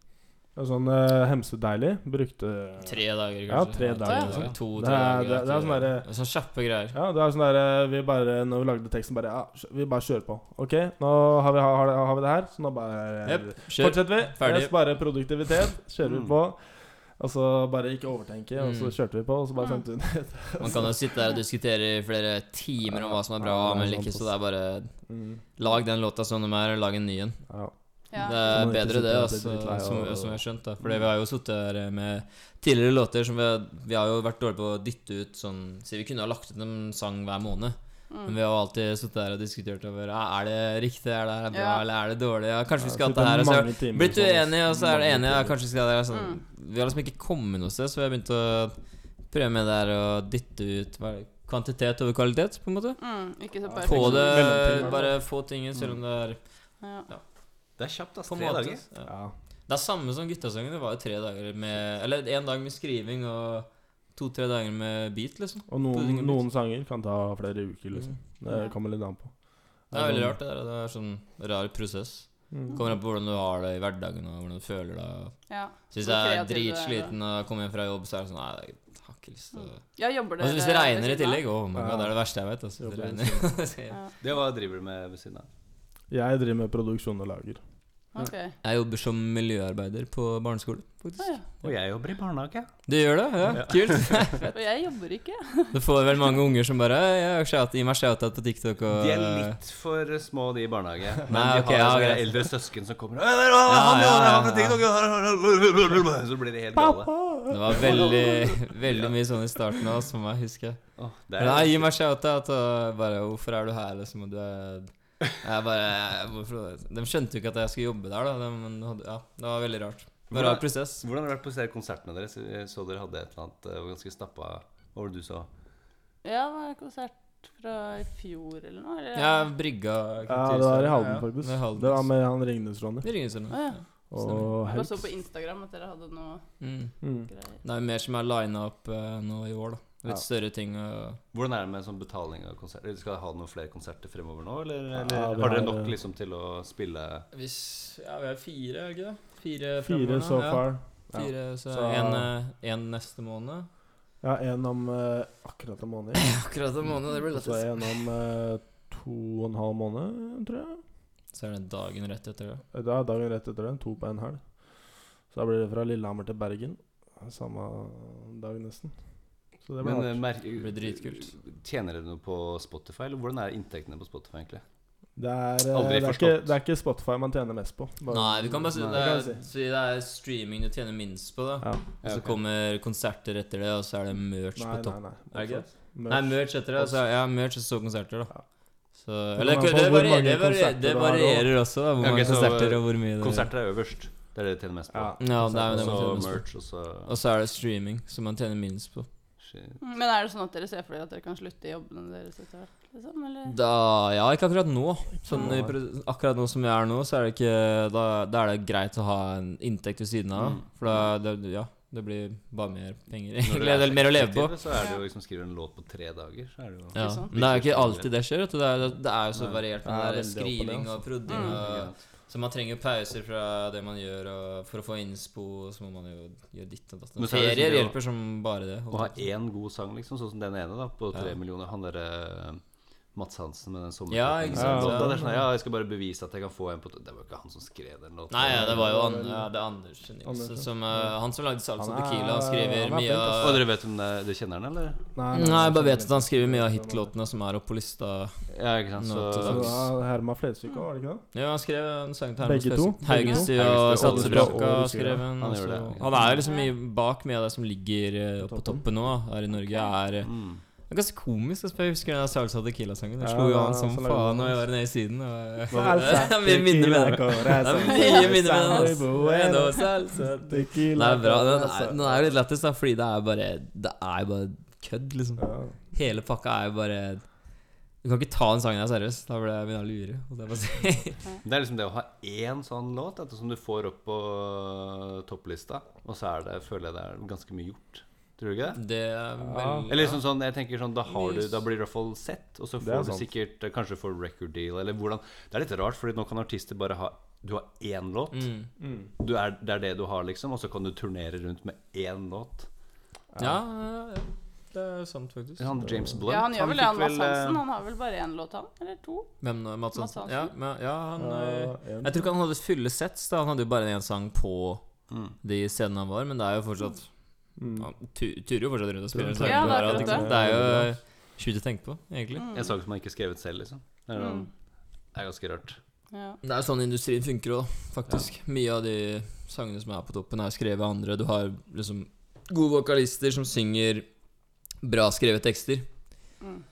Speaker 4: Ja, Sånn uh, Hemsedeilig brukte
Speaker 3: Tre dager, kanskje.
Speaker 4: Ja, tre dager,
Speaker 3: To,
Speaker 4: altså.
Speaker 3: to,
Speaker 4: Det
Speaker 3: tre
Speaker 4: er-
Speaker 3: dager.
Speaker 4: det er- det er sånn derre-
Speaker 3: Sånn kjappe greier.
Speaker 4: Ja, det er sånn der eh, vi bare, Når vi lagde teksten, bare Ja, kjø- vi bare kjører på. Ok, nå har vi, har, har vi det her, så nå bare
Speaker 3: Jep, kjør.
Speaker 4: fortsetter vi.
Speaker 3: Ferdig.
Speaker 4: Yes, bare produktivitet. Kjører vi
Speaker 1: Mm.
Speaker 4: på. Og så bare ikke overtenke, og så
Speaker 3: Mm.
Speaker 4: kjørte vi på, og så bare
Speaker 2: Mm.
Speaker 4: sendte vi den ut.
Speaker 3: Man kan jo sitte der og diskutere i flere timer om hva som er bra,
Speaker 4: Ja,
Speaker 3: men
Speaker 4: det er sånn
Speaker 3: ikke,
Speaker 4: sant,
Speaker 3: så det er bare
Speaker 4: Mm.
Speaker 3: Lag den låta som den er, og lag en ny en.
Speaker 4: Ja.
Speaker 2: Ja.
Speaker 3: Det er
Speaker 4: Så må du ikke
Speaker 3: bedre
Speaker 4: sitte
Speaker 3: det,
Speaker 4: og bli
Speaker 3: altså,
Speaker 4: drittlei
Speaker 3: som,
Speaker 4: og-
Speaker 3: som jeg har skjønt. da Fordi vi har jo sittet her med tidligere låter som vi, vi har jo vært dårlige på å dytte ut sånn Si vi kunne ha lagt ut en sang hver måned. Men vi har jo alltid sittet her og diskutert over ja, Er det riktig, er det her bra,
Speaker 2: Ja.
Speaker 3: eller er det dårlig? Ja, kanskje vi
Speaker 4: Ja,
Speaker 3: skal hatt det her, og så har
Speaker 4: mange timer
Speaker 3: blitt
Speaker 4: sånn, ass.
Speaker 3: uenige, og så er det
Speaker 4: Mange
Speaker 3: enige, ja,
Speaker 4: timer.
Speaker 3: kanskje vi skal ha det her. Sånn. Vi har liksom ikke kommet noe sted, så vi har begynt å prøve med det her å dytte ut hva er det, kvantitet over kvalitet, på en måte.
Speaker 2: Mm, ikke så
Speaker 3: Få
Speaker 2: perfekt.
Speaker 3: det
Speaker 4: Mellomting, da.
Speaker 3: Bare få ting inn, selv om det er
Speaker 2: Ja.
Speaker 1: Det er kjapt, ass.
Speaker 3: på en
Speaker 1: Tre
Speaker 3: måte.
Speaker 1: dager.
Speaker 3: Ja.
Speaker 4: Ja.
Speaker 3: Det er samme som guttasangen. Det var jo tre dager med Eller én dag med skriving og to-tre dager med beat, liksom.
Speaker 4: Og noen, noen sanger kan ta flere uker, liksom. Det
Speaker 3: Mm.
Speaker 2: Ja.
Speaker 4: kommer litt an på.
Speaker 3: Det er veldig rart, det der. Det er sånn rar prosess.
Speaker 4: Mm.
Speaker 3: Kommer an på hvordan du har det i hverdagen, og hvordan du føler deg.
Speaker 2: Ja.
Speaker 3: Så hvis
Speaker 2: Hvor
Speaker 3: jeg er
Speaker 2: kreativ du er,
Speaker 3: dritsliten og kommer hjem fra jobb, så er det sånn Nei, jeg har ikke lyst til å
Speaker 2: ja, jobber
Speaker 3: Og
Speaker 2: dere
Speaker 3: Altså, hvis det regner i
Speaker 2: ved siden av?
Speaker 3: tillegg, oh my god, det er det verste jeg vet. Altså.
Speaker 4: Jobber
Speaker 3: Det regner.
Speaker 2: Ja.
Speaker 1: Det var driver du med ved siden av.
Speaker 4: Jeg driver med produksjon og lager.
Speaker 2: Ok.
Speaker 3: Jeg jobber som miljøarbeider på barneskole,
Speaker 2: Å,
Speaker 3: faktisk.
Speaker 2: ja.
Speaker 1: Og jeg jobber i barnehage.
Speaker 3: Du gjør det? Ja, kult.
Speaker 2: Og jeg jobber ikke.
Speaker 3: Du får vel mange unger som bare «Jeg har shout- Gi meg shout-out på TikTok og
Speaker 1: De er litt for små, de i barnehage. Men
Speaker 3: Nei,
Speaker 1: de
Speaker 3: ok,
Speaker 1: har
Speaker 3: ja,
Speaker 1: sånne
Speaker 3: greit.
Speaker 1: eldre søsken som kommer «Å, der, å, han,
Speaker 3: ja,
Speaker 1: ja,
Speaker 3: ja,
Speaker 1: han med TikTok, ja, ja». Så blir de helt gale.
Speaker 3: Det var veldig veldig mye sånn i starten av som jeg husker.
Speaker 1: Åh, det er-
Speaker 3: Nei, gi meg shout-out og bare 'Hvorfor er du her?' liksom. Og du er jeg bare, hvorfor, De skjønte jo ikke at jeg skulle jobbe der, da. De, men hadde- ja, det var veldig rart. Det var en rar prosess.
Speaker 1: Hvordan har det vært på disse konsertene deres? Jeg Så dere hadde et eller annet eh, ganske stappa Hva var det du sa?
Speaker 2: Ja, det var konsert fra i fjor eller noe. Eller?
Speaker 3: Jeg brygga
Speaker 4: Ja, det var i Halden,
Speaker 3: Det,
Speaker 4: faktisk.
Speaker 3: er Halden,
Speaker 4: Det var
Speaker 3: ass.
Speaker 4: med han Ringnes-Ronny.
Speaker 3: Det ringer sånn.
Speaker 2: Å, ja.
Speaker 4: Og
Speaker 2: Jeg bare
Speaker 4: Helps.
Speaker 2: så på Instagram at dere hadde noe
Speaker 3: Mm.
Speaker 4: Mm.
Speaker 2: greier.
Speaker 3: Det er mer som er lina opp eh, nå i år, da. Litt
Speaker 4: Ja.
Speaker 3: større ting og
Speaker 1: Hvordan er det med sånn betaling av konserter? Skal dere ha noen flere konserter fremover nå, eller,
Speaker 4: Ja,
Speaker 1: eller
Speaker 4: vi
Speaker 1: har dere
Speaker 4: har,
Speaker 1: nok
Speaker 4: eh,
Speaker 1: liksom til å spille
Speaker 3: Hvis Ja, vi er fire, er det ikke det? Fire
Speaker 4: Fire
Speaker 3: fremover
Speaker 4: so
Speaker 3: nå, ja.
Speaker 4: far. Ja.
Speaker 3: Fire, så
Speaker 4: Så-
Speaker 3: en, eh, en neste måned.
Speaker 4: Ja, en om eh, akkurat en måned.
Speaker 3: Akkurat en måned, det blir
Speaker 4: Og så
Speaker 3: lettest.
Speaker 4: en om eh, to og en halv måned, tror jeg.
Speaker 3: Så er det dagen rett etter det.
Speaker 4: Da er dagen rett etter den. To på en helg. Så da blir det fra Lillehammer til Bergen. Samme dag, nesten. Så det blir
Speaker 1: Men, eh,
Speaker 4: hardt.
Speaker 1: merk-
Speaker 3: Det blir dritkult.
Speaker 1: Tjener dere noe på Spotify, eller hvordan er inntektene på Spotify egentlig?
Speaker 4: Det er, eh,
Speaker 1: aldri
Speaker 4: det, er ikke,
Speaker 1: forstått.
Speaker 4: det er ikke Spotify man tjener mest på. Bare-
Speaker 3: Nei, du kan bare si
Speaker 4: Nei,
Speaker 3: det
Speaker 4: kan
Speaker 3: er,
Speaker 4: jeg si.
Speaker 3: si det er streaming du tjener minst på, da.
Speaker 4: Ja.
Speaker 3: Og så kommer konserter etter det, og så er det merch
Speaker 4: Nei,
Speaker 3: på
Speaker 4: nei,
Speaker 3: topp.
Speaker 4: nei.
Speaker 3: Er det altså, ikke
Speaker 4: Merch.
Speaker 3: Nei, merch etter det, og så ja, merch og så konserter,
Speaker 4: Ja.
Speaker 3: da. Så,
Speaker 4: kommer
Speaker 3: eller,
Speaker 4: an
Speaker 3: det,
Speaker 4: på
Speaker 3: varierer,
Speaker 4: hvor mange
Speaker 3: det, varierer,
Speaker 4: konserter
Speaker 3: det
Speaker 4: du har,
Speaker 3: varierer også, da, hvor
Speaker 1: Ok,
Speaker 3: mange
Speaker 1: så,
Speaker 3: konserter og hvor mye det
Speaker 1: Konserter er øverst. Det er det jeg tjener mest på.
Speaker 4: Eh, Ja.
Speaker 3: Ja, det er jo
Speaker 1: Og
Speaker 3: det man
Speaker 1: så
Speaker 3: tjener mest på.
Speaker 1: merch, og så
Speaker 3: Og så er det streaming, som man tjener minst på.
Speaker 1: shit.
Speaker 2: Men er det sånn at dere ser for dere at dere kan slutte i jobbene deres etter hvert? Liksom, eller?
Speaker 3: Da, ja, ikke akkurat nå. Sånn,
Speaker 4: nå,
Speaker 3: i
Speaker 4: nei.
Speaker 3: pro- akkurat nå som jeg er nå, så er det ikke Da, da er det greit å ha en inntekt ved siden av.
Speaker 1: Mm.
Speaker 3: For da det, ja, det blir bare mer penger.
Speaker 1: Når
Speaker 3: Egentlig
Speaker 1: du
Speaker 3: det er mer å leve på.
Speaker 1: sexy, Så er det jo liksom skriver en låt på tre dager, så er det jo
Speaker 3: Ja.
Speaker 2: Ikke sant?
Speaker 3: Men det er jo ikke alltid det skjer. vet du. Det er, det er jo så
Speaker 1: Nei.
Speaker 3: variert med
Speaker 4: Ja,
Speaker 3: det der
Speaker 4: veldig opp og ned,
Speaker 3: skriving og prodding.
Speaker 2: Mm.
Speaker 3: Og, så man trenger jo pauser fra det man gjør, og for å få innspo og så må man jo gjøre ditt og datt.
Speaker 1: Men så er det
Speaker 3: Ferier
Speaker 1: sikkert
Speaker 3: hjelper som bare det.
Speaker 1: Å ha én god sang, liksom, sånn som den ene, da, på tre
Speaker 3: Ja.
Speaker 1: millioner. Han derre eh, Mats Hansen med den sommeren.
Speaker 3: Ja, ikke sant,
Speaker 1: Ja,
Speaker 3: ja.
Speaker 1: da er det sånn, ja, jeg skal bare bevise at jeg kan få en på Det var jo ikke han som skrev den låten.
Speaker 3: Nei, ja, det var jo An ja, det er Anders
Speaker 4: Andersen.
Speaker 3: Nilsen som eh, Han som lagde Salsa
Speaker 4: Han er-
Speaker 3: Tequila. Han skriver
Speaker 4: han er
Speaker 3: mye
Speaker 4: flink,
Speaker 1: Og
Speaker 3: av
Speaker 1: dere vet om det, det kjenner han, eller?
Speaker 3: Nei, jeg bare vet at han skriver mye av hitlåtene som er oppe på lista.
Speaker 1: Ja, ikke sant,
Speaker 3: Nå til
Speaker 4: Så
Speaker 1: så
Speaker 3: dags.
Speaker 4: det er Herma Flesvig òg, var det ikke det?
Speaker 3: Ja, han skrev en sang til
Speaker 4: Begge to?
Speaker 3: Hermes Haugensty
Speaker 1: Begge to?
Speaker 3: og
Speaker 1: Haugenstua og
Speaker 3: Satsebrakka
Speaker 4: Olsrud.
Speaker 3: skrev en.
Speaker 1: Han
Speaker 3: Han,
Speaker 1: gjør
Speaker 3: så,
Speaker 1: det, ja.
Speaker 3: han er jo liksom mye bak mye av det som ligger eh,
Speaker 4: På
Speaker 3: på
Speaker 4: toppen.
Speaker 3: toppen nå, da, her i Norge. Er, eh,
Speaker 1: mm.
Speaker 3: det er ganske komisk. altså, Jeg husker den der Salsa Tequila-sangen.
Speaker 4: Ja,
Speaker 3: Den slo jo han
Speaker 4: ja,
Speaker 3: som
Speaker 4: så lagde han
Speaker 3: faen og jeg
Speaker 4: den.
Speaker 3: var nede i siden. og- eh, Det er
Speaker 4: Salsa,
Speaker 3: mye minner med den. Det
Speaker 4: tequila,
Speaker 3: er
Speaker 4: corazón,
Speaker 3: mye minner med den.
Speaker 4: Sambo,
Speaker 3: altså.
Speaker 4: bueno,
Speaker 3: Bueno, salsa. Den
Speaker 4: tequila,
Speaker 3: er bra. Den er,
Speaker 4: corazón.
Speaker 3: den er jo litt lættis, da, fordi det er bare Det er jo bare kødd, liksom.
Speaker 4: Ja.
Speaker 3: Hele pakka er jo bare Du kan ikke ta den sangen her seriøst. Da blir jeg begynner jeg å lure. holdt jeg på å si.
Speaker 1: Det er liksom det å ha én sånn låt dette som du får opp på topplista, og så er det, føler jeg det er ganske mye gjort. Tror du ikke det?
Speaker 3: Det er
Speaker 4: Ja.
Speaker 3: veldig
Speaker 1: Eller liksom sånn, jeg tenker sånn, Da har du, da blir du i hvert fall sett, og så
Speaker 4: Det er
Speaker 1: får du
Speaker 4: sant.
Speaker 1: sikkert eh, Kanskje får record deal, eller hvordan Det er litt rart, fordi nå kan artister bare ha Du har én låt.
Speaker 3: mm.
Speaker 1: Du er, det er det du har, liksom, og så kan du turnere rundt med én låt.
Speaker 3: ja, ja, ja. Det er sant, faktisk.
Speaker 1: Han James Blunt
Speaker 2: ja, han gjør vel det,
Speaker 1: fikk
Speaker 2: han Mads
Speaker 1: vel, eh,
Speaker 2: Hansen. Han har vel bare én låt, han? Eller to?
Speaker 3: Hvem nå? Mads
Speaker 2: Mads
Speaker 3: Hansen?
Speaker 2: Hansen.
Speaker 3: eh, Ja, men, ja, han eh,
Speaker 4: Ja, en.
Speaker 3: Jeg tror ikke han hadde fulle sets. da Han hadde jo bare én sang på
Speaker 1: mm.
Speaker 3: de scenene han var, men det er jo fortsatt
Speaker 4: Mm.
Speaker 3: Han tu- turer jo fortsatt rundt og spiller
Speaker 4: Ja,
Speaker 3: en sang.
Speaker 2: det er
Speaker 3: på her,
Speaker 2: akkurat
Speaker 3: ikke sant?
Speaker 4: det.
Speaker 3: det er jo eh, sjukt å tenke på, egentlig.
Speaker 1: En sang som han ikke har skrevet selv, liksom. Det er,
Speaker 2: Mm.
Speaker 1: det er ganske rart.
Speaker 2: Ja.
Speaker 3: Det er sånn industrien funker òg, faktisk. Mye av de sangene som er på toppen, er skrevet av andre. Du har liksom gode vokalister som synger bra skrevet tekster.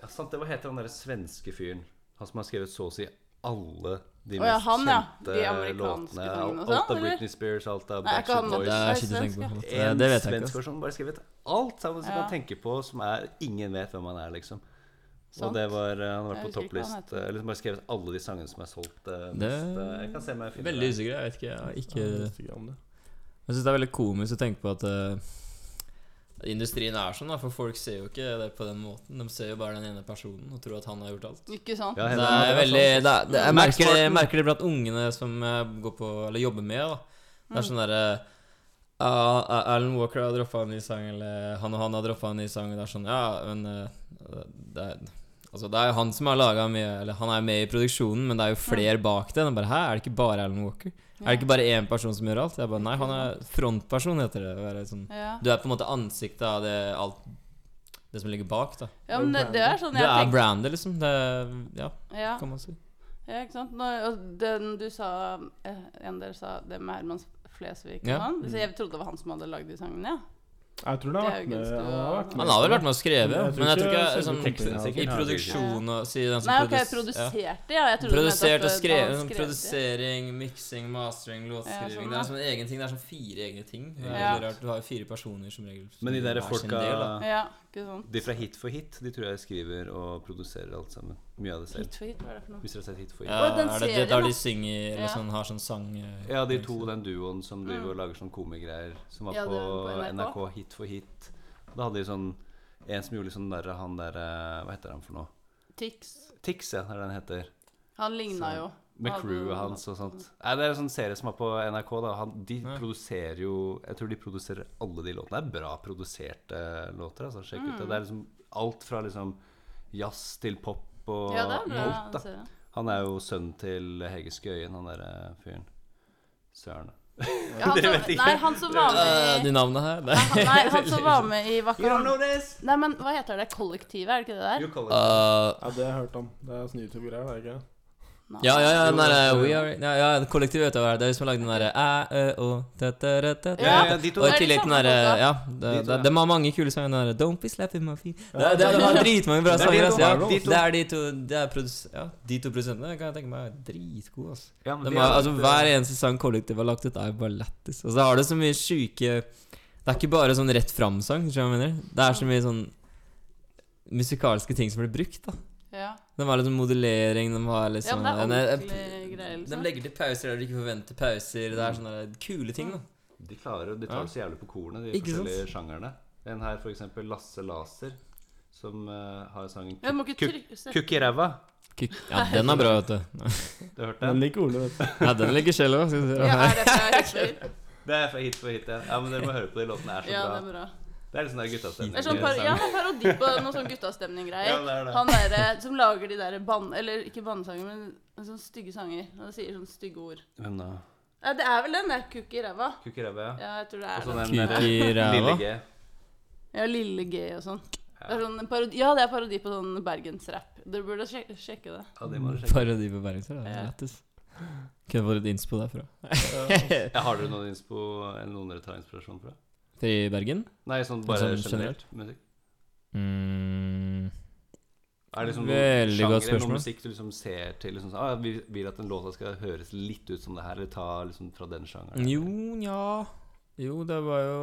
Speaker 1: Ja, sant, det Hva heter han derre svenske fyren? Han som har skrevet så å si alle de
Speaker 2: Å ja,
Speaker 1: mest
Speaker 2: han, ja.
Speaker 1: kjente
Speaker 2: De amerikanske
Speaker 1: låtene.
Speaker 2: sangene og
Speaker 1: Alt
Speaker 2: sånn,
Speaker 1: av
Speaker 2: eller?
Speaker 1: Britney Spears, alt av
Speaker 2: Nei, er ikke han
Speaker 1: Backstreet
Speaker 2: den
Speaker 3: Det
Speaker 1: Boys.
Speaker 2: beste?
Speaker 3: er shit å tenke på. Det,
Speaker 1: En
Speaker 3: eh, det vet
Speaker 1: svensk
Speaker 3: jeg ikke. altså. ass.
Speaker 1: person bare skrevet alt sammen som
Speaker 2: Ja.
Speaker 1: kan tenke på, som er Ingen vet hvem han er, liksom. Og
Speaker 2: Sant.
Speaker 1: det var, eh, Han har
Speaker 2: Jeg
Speaker 1: vært på
Speaker 2: husker ikke hva han
Speaker 1: toppliste Eller liksom bare skrevet alle de sangene som er solgt eh,
Speaker 3: Det-
Speaker 1: mest. Eh, Jeg kan se om jeg finner
Speaker 3: Veldig
Speaker 1: det.
Speaker 3: usikker. Jeg vet ikke. Jeg, har
Speaker 4: Ja,
Speaker 3: ikke,
Speaker 4: jeg visste ikke om det.
Speaker 3: jeg syns det er veldig komisk å tenke på at eh, industrien er sånn, da, for folk ser jo ikke det på den måten. De ser jo bare den ene personen og tror at han har gjort alt.
Speaker 2: Ikke sant?
Speaker 1: Ja,
Speaker 3: Det
Speaker 1: helt
Speaker 3: er
Speaker 1: enig.
Speaker 3: veldig det er, det, Jeg
Speaker 1: altså. Max
Speaker 3: merker det, jeg
Speaker 1: Martin.
Speaker 3: merker det blant ungene som jeg går på Eller jobber med. da Det er sånn derre ah, ah, Alan Walker har droppa en ny sang, eller han og han har droppa en ny sang. og Det er sånn, ja, men eh, det er, Altså, det er jo han som har laga mye Eller han er med i produksjonen, men det er jo flere bak det. Og bare, Hæ, er det ikke bare Alan Walker? Er det ikke bare én person som gjør alt? Jeg bare, Nei, han er frontperson, heter det. det. er Sånn.
Speaker 2: Ja.
Speaker 3: Du er på en måte ansiktet av det, alt det som ligger bak, da.
Speaker 2: ja, men det, det er sånn
Speaker 3: Du
Speaker 2: jeg
Speaker 3: er
Speaker 2: tenker
Speaker 3: brandet, liksom. Det, ja,
Speaker 2: ja,
Speaker 3: kan man si.
Speaker 2: ja, ikke sant? Når, og den du sa eh, En del sa det med Herman Flesvig og
Speaker 3: Ja. Mm.
Speaker 2: sånn. Så jeg trodde det var han som hadde lagd de sangene, ja.
Speaker 4: Jeg tror det har
Speaker 2: Det er
Speaker 4: vært
Speaker 2: jo
Speaker 4: med.
Speaker 2: gunstig
Speaker 4: Han
Speaker 2: å-
Speaker 4: har vært med.
Speaker 3: Han har vel vært med og skrevet,
Speaker 4: Men jeg
Speaker 3: men
Speaker 4: tror
Speaker 3: jeg tror
Speaker 4: ikke
Speaker 3: ikke
Speaker 4: selve
Speaker 3: sånn,
Speaker 4: teksten
Speaker 1: sikkert
Speaker 3: i
Speaker 1: har han
Speaker 3: produksjon og si den som
Speaker 2: Nei, ok, jeg
Speaker 3: produs- ja.
Speaker 2: produserte, ja. Jeg trodde du mente at
Speaker 3: Produsert
Speaker 2: det-
Speaker 3: og
Speaker 2: da
Speaker 3: skrevet.
Speaker 2: han
Speaker 3: sånn
Speaker 2: skrev det.
Speaker 3: Produsering, miksing, mastering,
Speaker 2: Ja, sånn,
Speaker 3: låtskriving. Det
Speaker 2: ja.
Speaker 3: er sånn egen ting. Det er sånn fire egne ting. Det er
Speaker 2: Ja.
Speaker 3: veldig rart. Du har jo fire personer som regel. som
Speaker 1: Men de der
Speaker 3: er sin
Speaker 1: folka
Speaker 3: del, da.
Speaker 2: Ja, ikke sant.
Speaker 1: De fra Hit for hit, de tror jeg skriver og produserer alt sammen. Mye av det selv.
Speaker 2: Hit for hit, hva er det for noe?
Speaker 1: Hvis dere har sett Hit for
Speaker 3: Ja,
Speaker 1: hit.
Speaker 2: Å, den
Speaker 3: er det det
Speaker 2: serien,
Speaker 3: der
Speaker 2: da.
Speaker 3: de synger eller
Speaker 2: Ja.
Speaker 3: sånn, har sånn sang eh,
Speaker 1: Ja, de to, den duoen som driver og lager sånn komigreier, som var
Speaker 2: Ja, det
Speaker 1: på,
Speaker 2: var på
Speaker 1: NRK.
Speaker 2: NRK.
Speaker 1: Hit for hit. Da hadde de sånn en som gjorde litt sånn narr av han der eh, Hva heter han for noe?
Speaker 2: Tix.
Speaker 1: Tix, ja, er det han heter.
Speaker 2: Han ligna jo.
Speaker 1: Med
Speaker 2: Hadde-
Speaker 1: crewet hans og sånt. Nei, Det er en sånn serie som er på NRK. da han, De produserer jo Jeg tror de produserer alle de låtene. Det er bra produserte låter. altså, sjekk
Speaker 2: Mm.
Speaker 1: ut det. Det er liksom alt fra liksom jazz til pop og
Speaker 2: Ja, det er bra.
Speaker 1: alt, da.
Speaker 2: serien.
Speaker 1: Han er jo sønnen til Hege Skøyen, han derre fyren. Søren.
Speaker 2: Ja, han
Speaker 1: Dere
Speaker 2: som-
Speaker 1: vet ikke.
Speaker 2: Nei, han som var
Speaker 3: Eh,
Speaker 2: med i
Speaker 3: De navnene her Nei.
Speaker 2: Nei, han som var med i
Speaker 1: don't know
Speaker 2: Vakan
Speaker 1: this!
Speaker 2: Nei, men hva heter det? Kollektivet, er det ikke det der?
Speaker 1: You call it.
Speaker 3: Eh,
Speaker 4: Ja, det har jeg hørt om. Det er sånn YouTube-greier, det er ikke?
Speaker 2: Nei.
Speaker 3: Ja, ja, ja, den der, eh, We Are Ja, ja kollektivet vet du hva det er. Det er de som har lagd den derre æ, ø, å, tæ, tæ, rø, tæ, tæ.
Speaker 2: Ja,
Speaker 1: ja, de to
Speaker 3: Og
Speaker 1: der.
Speaker 2: Det er
Speaker 3: i
Speaker 2: de
Speaker 3: tillegg
Speaker 2: samme
Speaker 3: den derre
Speaker 2: folka.
Speaker 3: Ja,
Speaker 1: De
Speaker 3: det,
Speaker 1: to,
Speaker 3: det,
Speaker 1: ja.
Speaker 3: det var mange kule sanger. Den der, Don't be slapping my feet
Speaker 4: Ja,
Speaker 3: Det, det, det var dritmange bra
Speaker 1: Det er de to.
Speaker 3: sanger. ass, ja.
Speaker 1: De to.
Speaker 3: Det er de to Det er produs... Ja, de to produsentene kan jeg tenke meg er dritgode, altså.
Speaker 1: Ja, men
Speaker 3: De
Speaker 1: de eh,
Speaker 3: har,
Speaker 1: er-
Speaker 3: altså hver eneste sang kollektivet har lagt ut, er bare lættis. Og så har det så mye sjuke Det er ikke bare sånn rett fram-sang, skjønner du hva jeg mener? Det er så mye sånn musikalske ting som blir brukt, da.
Speaker 2: Ja.
Speaker 3: De har litt sånn modellering, de har litt
Speaker 2: Ja,
Speaker 3: sånn
Speaker 2: men det er
Speaker 3: en- en-
Speaker 2: ordentlige greier, liksom.
Speaker 3: De legger til pauser der du ikke forventer pauser. Det er sånne der kule ting, da.
Speaker 1: De klarer De tar det så jævlig på kornet, de
Speaker 3: Ikke sant?
Speaker 1: forskjellige sjangerne. En her, for eksempel Lasse Laser, som eh, har sangen
Speaker 2: Jeg må ikke
Speaker 1: Kuk-
Speaker 2: trykke se-
Speaker 1: Kukk i ræva.
Speaker 3: Kuk- Ja, den er bra, vet
Speaker 1: Du
Speaker 3: du.
Speaker 1: har hørt den?
Speaker 4: Den liker Ole, vet du.
Speaker 3: Ja, den ligger selv òg, skal du si.
Speaker 2: Ja, er det fra Hitler?
Speaker 1: Det er fra hit for hit, ja. ja men dere må høre på de låtene. er så
Speaker 2: Ja, det er
Speaker 1: bra.
Speaker 2: bra.
Speaker 1: Det er litt sånn der guttastemning.
Speaker 2: Det er sånn par ja, det er parodi på noe sånn guttastemning-greier.
Speaker 1: Ja, det er det.
Speaker 2: Han derre som lager de derre bann... Eller ikke bannesanger, men sånne stygge sanger. Han sier sånne stygge ord.
Speaker 1: Men da
Speaker 2: Ja, det er vel den der kukk i ræva.
Speaker 1: Kukk i ræva, ja.
Speaker 2: Ja, jeg tror
Speaker 1: Og
Speaker 2: det er
Speaker 1: så
Speaker 2: den.
Speaker 1: den
Speaker 3: Kuk
Speaker 1: der
Speaker 3: i
Speaker 1: lille
Speaker 3: ræva.
Speaker 1: G.
Speaker 2: Ja, Lille G og sånn. Det er sånn en parodi, ja, det er parodi på sånn bergensrapp. Dere burde sjek- sjekke det.
Speaker 1: Ja, det må du sjekke.
Speaker 3: Parodi på Bergensrud. Det
Speaker 2: Ja.
Speaker 3: er lættis. Kunne fått litt innspo derfra.
Speaker 1: Ja, har dere noen inspo eller noen dere tar inspirasjon fra?
Speaker 3: Fri i Bergen?
Speaker 1: Nei, sånn bare
Speaker 3: Sånn
Speaker 1: generelt musikk.
Speaker 3: Mm.
Speaker 1: Er det liksom noen
Speaker 3: Veldig godt
Speaker 1: sjanger eller noen
Speaker 3: spørsmål.
Speaker 1: musikk du liksom ser til liksom, sånn, ah, Vi vil at den låta skal høres litt ut som det her, eller ta liksom fra den sjangeren?
Speaker 3: Jo, nja Jo, det var jo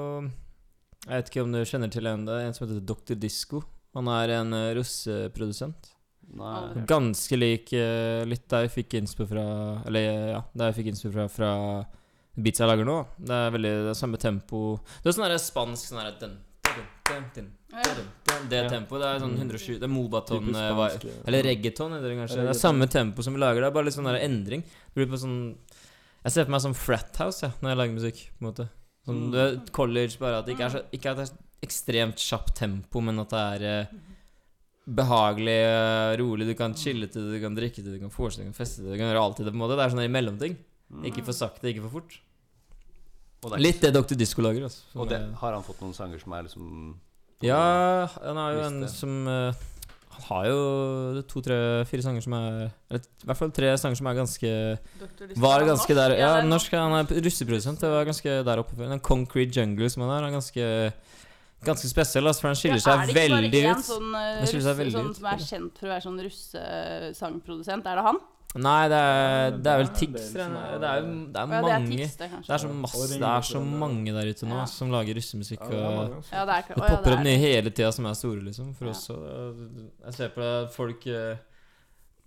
Speaker 3: Jeg vet ikke om du kjenner til en, det er en som heter Dr. Disko. Han er en eh, russeprodusent.
Speaker 1: Nei.
Speaker 2: Aldri.
Speaker 3: Ganske lik eh, litt der jeg fikk innspo fra Eller eh, ja, der jeg fikk innspo fra fra beats jeg lager nå. Det er veldig det er samme tempo Det er sånn der spansk sånn der, dun, dun, dun, dun, dun, dun, Det
Speaker 1: Ja.
Speaker 3: tempoet. Det er sånn 120 Det er Mobaton
Speaker 4: Typisk
Speaker 3: eh,
Speaker 4: spansk,
Speaker 3: vi-
Speaker 4: ja.
Speaker 3: Eller reggaeton heter det kanskje. Det
Speaker 4: Reggaeton.
Speaker 3: er samme tempo som vi lager. Det er bare litt sånn der endring. Det blir på sånn Jeg ser for meg sånn frat house jeg, når jeg lager musikk. på en måte Sånn
Speaker 1: Mm.
Speaker 3: du vet, college, bare at det ikke er så Ikke at det er ekstremt kjapt tempo, men at det er eh, behagelig, eh, rolig. Du kan chille til det, du kan drikke til det, du kan forestille deg, du kan feste til det, du kan gjøre alt til det. på en måte Det er sånn der i mellomting. Ikke for sakte, ikke for fort.
Speaker 1: Mm. Og det er-
Speaker 3: Mm. Litt det Dr. Disco lager. Altså, som
Speaker 1: Og det,
Speaker 3: er-
Speaker 1: har han fått noen sanger som er liksom
Speaker 3: Ja, han har jo en
Speaker 1: liste.
Speaker 3: som eh, Han har jo to, tre, fire sanger som er Eller i hvert fall tre sanger som er ganske
Speaker 2: Doktor Lise
Speaker 3: Var
Speaker 2: Strand,
Speaker 3: ganske der
Speaker 2: norsk.
Speaker 3: Ja,
Speaker 2: det er sånn-
Speaker 3: norsk. Han er russeprodusent. Det var ganske der oppe før. Den Concrete Jungle som han er, er ganske Ganske spesiell, altså, for han skiller
Speaker 2: Ja,
Speaker 3: seg veldig
Speaker 2: Er det ikke bare
Speaker 3: ut.
Speaker 2: én sånn, eh,
Speaker 3: Den skiller seg
Speaker 2: russe-
Speaker 3: veldig
Speaker 2: sånn
Speaker 3: ut.
Speaker 2: som er kjent for å være sånn russesangprodusent? Er det han?
Speaker 3: Nei, det er, det er vel
Speaker 4: Det er en del
Speaker 3: Tix.
Speaker 4: som
Speaker 3: Det
Speaker 4: er-
Speaker 3: er, det er, jo-
Speaker 2: Å
Speaker 3: det er
Speaker 2: Ja, det er
Speaker 3: mange
Speaker 2: Tix, det, kanskje.
Speaker 3: det er, så masse, det er så mange der ute nå
Speaker 2: Ja.
Speaker 3: som lager russemusikk.
Speaker 4: Ja,
Speaker 3: Og,
Speaker 4: det er mange, altså.
Speaker 2: Ja, det er ikke
Speaker 3: Det
Speaker 2: å, ja,
Speaker 3: popper
Speaker 2: er
Speaker 3: opp nye hele tida som er store, liksom. For
Speaker 2: Ja.
Speaker 3: oss også. eh, Jeg ser på det at folk eh,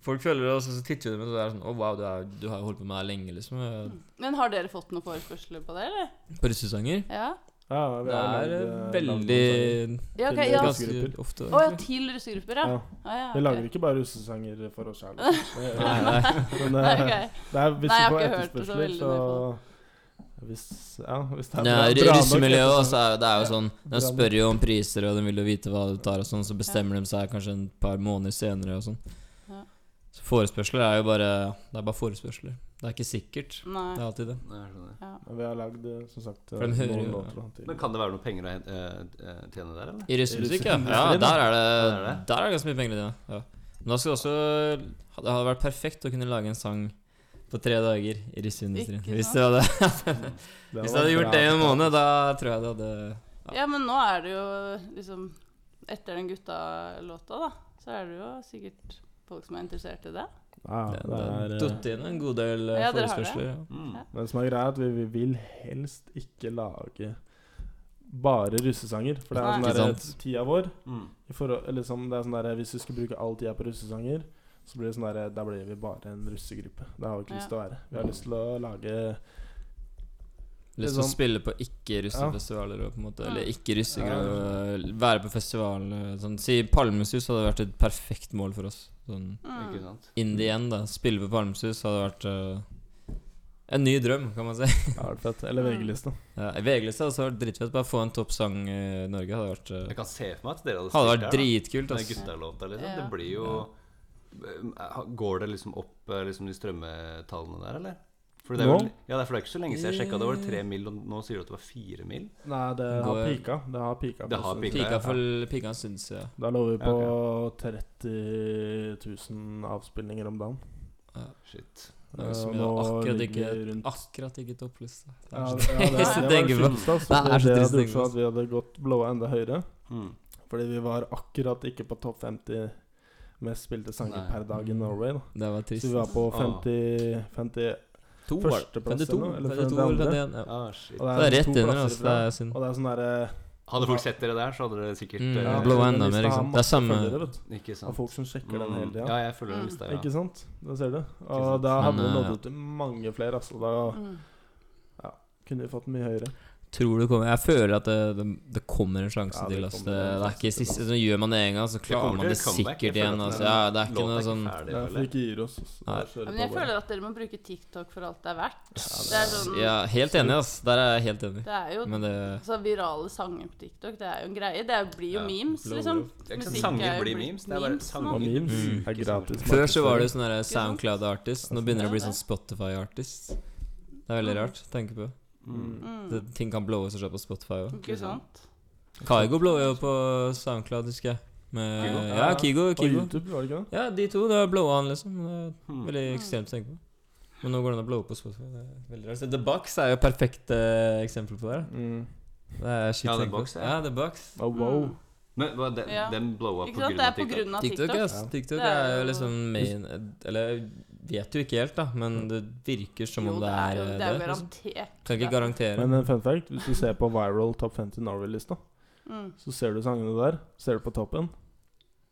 Speaker 3: Folk følger det, og så så titter de med det, og det er sånn Å, wow, du, er, du har jo holdt på med det her lenge, liksom. eh,
Speaker 2: Mm. Men har dere fått noen forespørsler på det, eller?
Speaker 3: På russesanger.
Speaker 2: Ja.
Speaker 4: Ja, vi
Speaker 3: Det
Speaker 4: har
Speaker 3: er eh,
Speaker 4: lagd, eh, lagd
Speaker 3: veldig
Speaker 4: noen
Speaker 2: ja, ok,
Speaker 4: Til
Speaker 2: ja.
Speaker 4: russ-
Speaker 3: Ganske
Speaker 4: russegrupper.
Speaker 3: ofte.
Speaker 2: Å ja,
Speaker 3: egentlig.
Speaker 2: til russegrupper,
Speaker 4: sanger.
Speaker 2: ja.
Speaker 4: Ja.
Speaker 2: Å, ja
Speaker 4: Vi lager
Speaker 2: ok.
Speaker 4: ikke bare russesanger for oss sjæl. Men
Speaker 3: Nei, nei.
Speaker 2: Nei,
Speaker 4: eh,
Speaker 2: ok.
Speaker 4: det er,
Speaker 2: Nei,
Speaker 4: hvis du
Speaker 2: jeg har
Speaker 4: får
Speaker 2: ikke hørt det så
Speaker 4: etterspørsler,
Speaker 2: veldig
Speaker 4: så
Speaker 2: mye
Speaker 4: hvis, ja, hvis det er
Speaker 3: Ja, ru-
Speaker 4: bra- bra nok
Speaker 3: Russemiljøet
Speaker 4: etterspørsel.
Speaker 3: også, er, jo- det er jo sånn
Speaker 4: Bra
Speaker 3: De spør jo om priser, og de vil jo vite hva du tar, og sånn, så bestemmer de seg kanskje en par måneder senere og sånn.
Speaker 2: Ja.
Speaker 3: Så forespørsler er jo bare Det er bare forespørsler. Det er ikke sikkert. Det
Speaker 2: Nei.
Speaker 3: er alltid det.
Speaker 1: Nei, jeg skjønner.
Speaker 4: Men Vi har lagd eh, som sagt
Speaker 3: de
Speaker 4: eh,
Speaker 3: hører
Speaker 4: noen
Speaker 3: jo-
Speaker 4: låter da, til-
Speaker 1: Men kan det være noen penger å hen- eh, eh, tjene der, eller?
Speaker 3: I russemusikk, ja. ja
Speaker 4: russeindustrien, da.
Speaker 3: der, er det,
Speaker 1: Der er det.
Speaker 3: der er det ganske mye penger i det. Ja. Men da skal det også Det hadde vært perfekt å kunne lage en sang på tre dager i russeindustrien.
Speaker 2: Ikke
Speaker 3: Hvis
Speaker 2: sant?
Speaker 3: du hadde,
Speaker 4: Det
Speaker 3: hvis du
Speaker 4: var
Speaker 3: hadde gjort
Speaker 4: bra.
Speaker 3: det i en måned, da tror jeg det hadde
Speaker 2: Ja, men nå er det jo liksom Etter den gutta-låta, da, så er det jo sikkert folk som er interessert i det.
Speaker 4: Ja, det er, eh,
Speaker 3: datt inn en god del eh,
Speaker 2: Ja, dere har det.
Speaker 3: forespørsler. Ja.
Speaker 1: Mm.
Speaker 2: Ja.
Speaker 4: Men det som er greia, er at vi, vi vil helst ikke lage bare russesanger. For det
Speaker 2: Nei.
Speaker 4: er
Speaker 3: Ikke
Speaker 4: sånn der
Speaker 3: sant.
Speaker 4: tida vår
Speaker 1: Mm.
Speaker 4: i forhold, eller sånn, det er sånn der, Hvis du skulle bruke all tida på russesanger, så blir det sånn der Da blir vi bare en russegruppe. Det har vi ikke lyst til å være. Vi har lyst til å lage
Speaker 3: Lyst til å
Speaker 4: Liksom-
Speaker 3: spille på ikke-russefestivaler og på en måte Eller ikke-russegrad. Være på festival eh, sånn. Si Palmesus hadde vært et perfekt mål for oss. Sånn
Speaker 2: Mm.
Speaker 1: Ikke sant?
Speaker 3: in the end, da. Spille på Palmesus hadde vært eh, en ny drøm, kan man si.
Speaker 4: Ja, det er fett. Eller VG-lista.
Speaker 3: Ja, VG-lista hadde også vært dritfett. Bare få en toppsang i Norge hadde vært eh,
Speaker 1: Jeg kan se for meg at dere hadde
Speaker 3: Hadde
Speaker 1: spilt
Speaker 3: vært dritkult.
Speaker 1: Den
Speaker 3: ass.
Speaker 1: guttalåta, liksom.
Speaker 2: Ja.
Speaker 1: Det blir jo Eh, Går det liksom opp eh, liksom de strømmetallene der, eller? For det er
Speaker 4: Nå?
Speaker 1: vel, ja, det er for det er ikke så lenge siden jeg sjekka. Det var
Speaker 2: Eh.
Speaker 1: tre mil, og nå sier du at det var fire mil.
Speaker 4: Nei, det har
Speaker 3: Går-
Speaker 4: pika. Det har pika.
Speaker 1: Det har pika.
Speaker 3: Pika for Pika syns jeg.
Speaker 4: Da lå vi
Speaker 1: Ja,
Speaker 4: på 30 000 avspillinger om dagen. Eh,
Speaker 1: Shit.
Speaker 3: Det er jo så
Speaker 4: Og
Speaker 3: mye
Speaker 4: nå
Speaker 3: akkurat ikke
Speaker 4: ligger rundt-
Speaker 3: Akkurat ikke topplista. Det
Speaker 4: Ja,
Speaker 3: er
Speaker 4: det-
Speaker 3: så
Speaker 4: ja, det- det
Speaker 3: trist å
Speaker 4: var
Speaker 3: tenke på.
Speaker 4: trist, altså.
Speaker 3: Det er så
Speaker 4: Det
Speaker 3: trist å
Speaker 4: hadde
Speaker 3: tenke
Speaker 4: gjort
Speaker 3: på.
Speaker 4: sånn at vi hadde gått blåa enda høyere.
Speaker 1: Mm.
Speaker 4: Fordi vi var akkurat ikke på topp 50 mest spilte sanger
Speaker 1: Nei.
Speaker 4: per dag i Norway. Da.
Speaker 3: Det var
Speaker 4: Så
Speaker 3: trist.
Speaker 4: vi var på
Speaker 1: Ah.
Speaker 4: 50, 50
Speaker 3: To var det.
Speaker 4: førsteplass
Speaker 3: 52,
Speaker 4: eller noe, eller
Speaker 3: 52,
Speaker 4: for det andre.
Speaker 3: 51 ja.
Speaker 1: Ah, shit.
Speaker 4: og
Speaker 3: Det er
Speaker 4: to
Speaker 3: rett under,
Speaker 4: plasser
Speaker 3: altså. Det
Speaker 4: ifra.
Speaker 3: er synd.
Speaker 4: Og det er sånn derre
Speaker 1: Hadde folk sett dere der, så hadde dere sikkert
Speaker 3: Mm,
Speaker 1: eh,
Speaker 3: ja, blå enda mer, ikke sant. Det er samme-
Speaker 1: Ikke
Speaker 4: Av
Speaker 1: sant.
Speaker 4: folk som sjekker den hele tida.
Speaker 1: Ja, jeg følger den
Speaker 2: Mm.
Speaker 1: lista, ja.
Speaker 4: Ikke sant? Det ser du. Og
Speaker 1: sant.
Speaker 4: da hadde
Speaker 3: Men,
Speaker 4: vi
Speaker 3: eh,
Speaker 4: nådd ut til mange flere. Altså. Da
Speaker 2: Mm.
Speaker 4: kunne vi fått den mye høyere.
Speaker 3: Tror du kommer Jeg føler at det, det, det kommer en sjanse
Speaker 4: Ja, det
Speaker 3: til. Altså. Det,
Speaker 4: kommer
Speaker 3: det er
Speaker 4: en sjanse
Speaker 3: ikke
Speaker 4: til,
Speaker 3: siste så Gjør man det en gang, så klarer
Speaker 1: kommer til
Speaker 3: man det
Speaker 1: et comeback. Jeg
Speaker 3: sikkert
Speaker 1: føler
Speaker 3: igjen.
Speaker 1: at
Speaker 3: Altså.
Speaker 1: den
Speaker 3: Ja, det er ikke
Speaker 1: Låten
Speaker 3: noe sånn
Speaker 1: ferdig,
Speaker 4: Det er for
Speaker 1: føler jeg.
Speaker 4: ikke gir oss. så
Speaker 3: Nei.
Speaker 4: bare
Speaker 2: Ja,
Speaker 4: kjører
Speaker 2: men
Speaker 4: på
Speaker 2: jeg
Speaker 4: bare.
Speaker 2: føler at dere må bruke TikTok for alt det er verdt.
Speaker 4: det
Speaker 2: Det er sånn
Speaker 3: Ja, helt enig, altså. Der er jeg helt enig.
Speaker 2: Det er jo
Speaker 3: Men det
Speaker 2: altså, virale sanger på TikTok. Det er jo en greie. Det er- blir jo
Speaker 1: Ja.
Speaker 2: memes,
Speaker 3: Blower
Speaker 2: liksom.
Speaker 3: up.
Speaker 1: Det er ikke
Speaker 2: Musikk
Speaker 1: sant,
Speaker 2: er
Speaker 1: sanger
Speaker 2: jo
Speaker 1: blir
Speaker 2: blitt
Speaker 1: memes. Det er bare
Speaker 2: memes nå.
Speaker 1: sanger.
Speaker 4: Og memes
Speaker 3: Mm.
Speaker 4: er gratis.
Speaker 3: Før så var det jo sånn der
Speaker 2: sant?
Speaker 3: SoundCloud-artist. Nå begynner det å bli
Speaker 2: Ja.
Speaker 3: sånn Spotify-artist. Det er veldig rart å tenke på.
Speaker 1: Mm.
Speaker 3: Det,
Speaker 2: Mm.
Speaker 3: ting kan blowe seg selv på Spotify òg.
Speaker 2: Ikke sant?
Speaker 3: Kaigo blowa jo på SoundCloud, husker jeg. Med,
Speaker 2: Kygo?
Speaker 3: eh, Ja, Kygo.
Speaker 4: På
Speaker 3: Kygo.
Speaker 4: YouTube, var det ikke det?
Speaker 3: Ja, de to. Da blowa han, liksom. Det er
Speaker 1: Mm.
Speaker 3: Veldig ekstremt å tenke på. Men nå går det an å blowe på Spotify. Det er veldig rart. Så The Box er jo et perfekt eh, eksempel på det.
Speaker 4: Mm.
Speaker 3: Det er shit
Speaker 1: Ja,
Speaker 3: å
Speaker 1: The
Speaker 3: tenke på.
Speaker 1: Box, ja.
Speaker 3: Ja, The Box.
Speaker 4: Oh, wow.
Speaker 2: Mm.
Speaker 1: Men hva, den,
Speaker 2: Ja.
Speaker 1: den blow up
Speaker 2: Ikke
Speaker 1: på
Speaker 2: sant?
Speaker 1: grunn
Speaker 2: Det er
Speaker 1: av
Speaker 2: på
Speaker 1: TikTok?
Speaker 2: grunn av
Speaker 3: TikTok,
Speaker 2: TikTok.
Speaker 3: ass.
Speaker 4: Ja.
Speaker 2: Det
Speaker 3: TikTok
Speaker 2: er
Speaker 3: er jo
Speaker 2: jo-
Speaker 3: liksom main Eller jeg vet jo ikke helt, da, men det virker som
Speaker 2: Jo,
Speaker 3: om
Speaker 2: det er jo
Speaker 3: eh,
Speaker 2: det er jo
Speaker 3: liksom.
Speaker 2: garantert.
Speaker 3: Kan ikke
Speaker 2: det.
Speaker 3: garantere.
Speaker 4: Men eh, en fun fact, hvis du ser på viral topp 50 Norway-lista,
Speaker 2: Mm.
Speaker 4: så ser du sangene der. Ser du på toppen,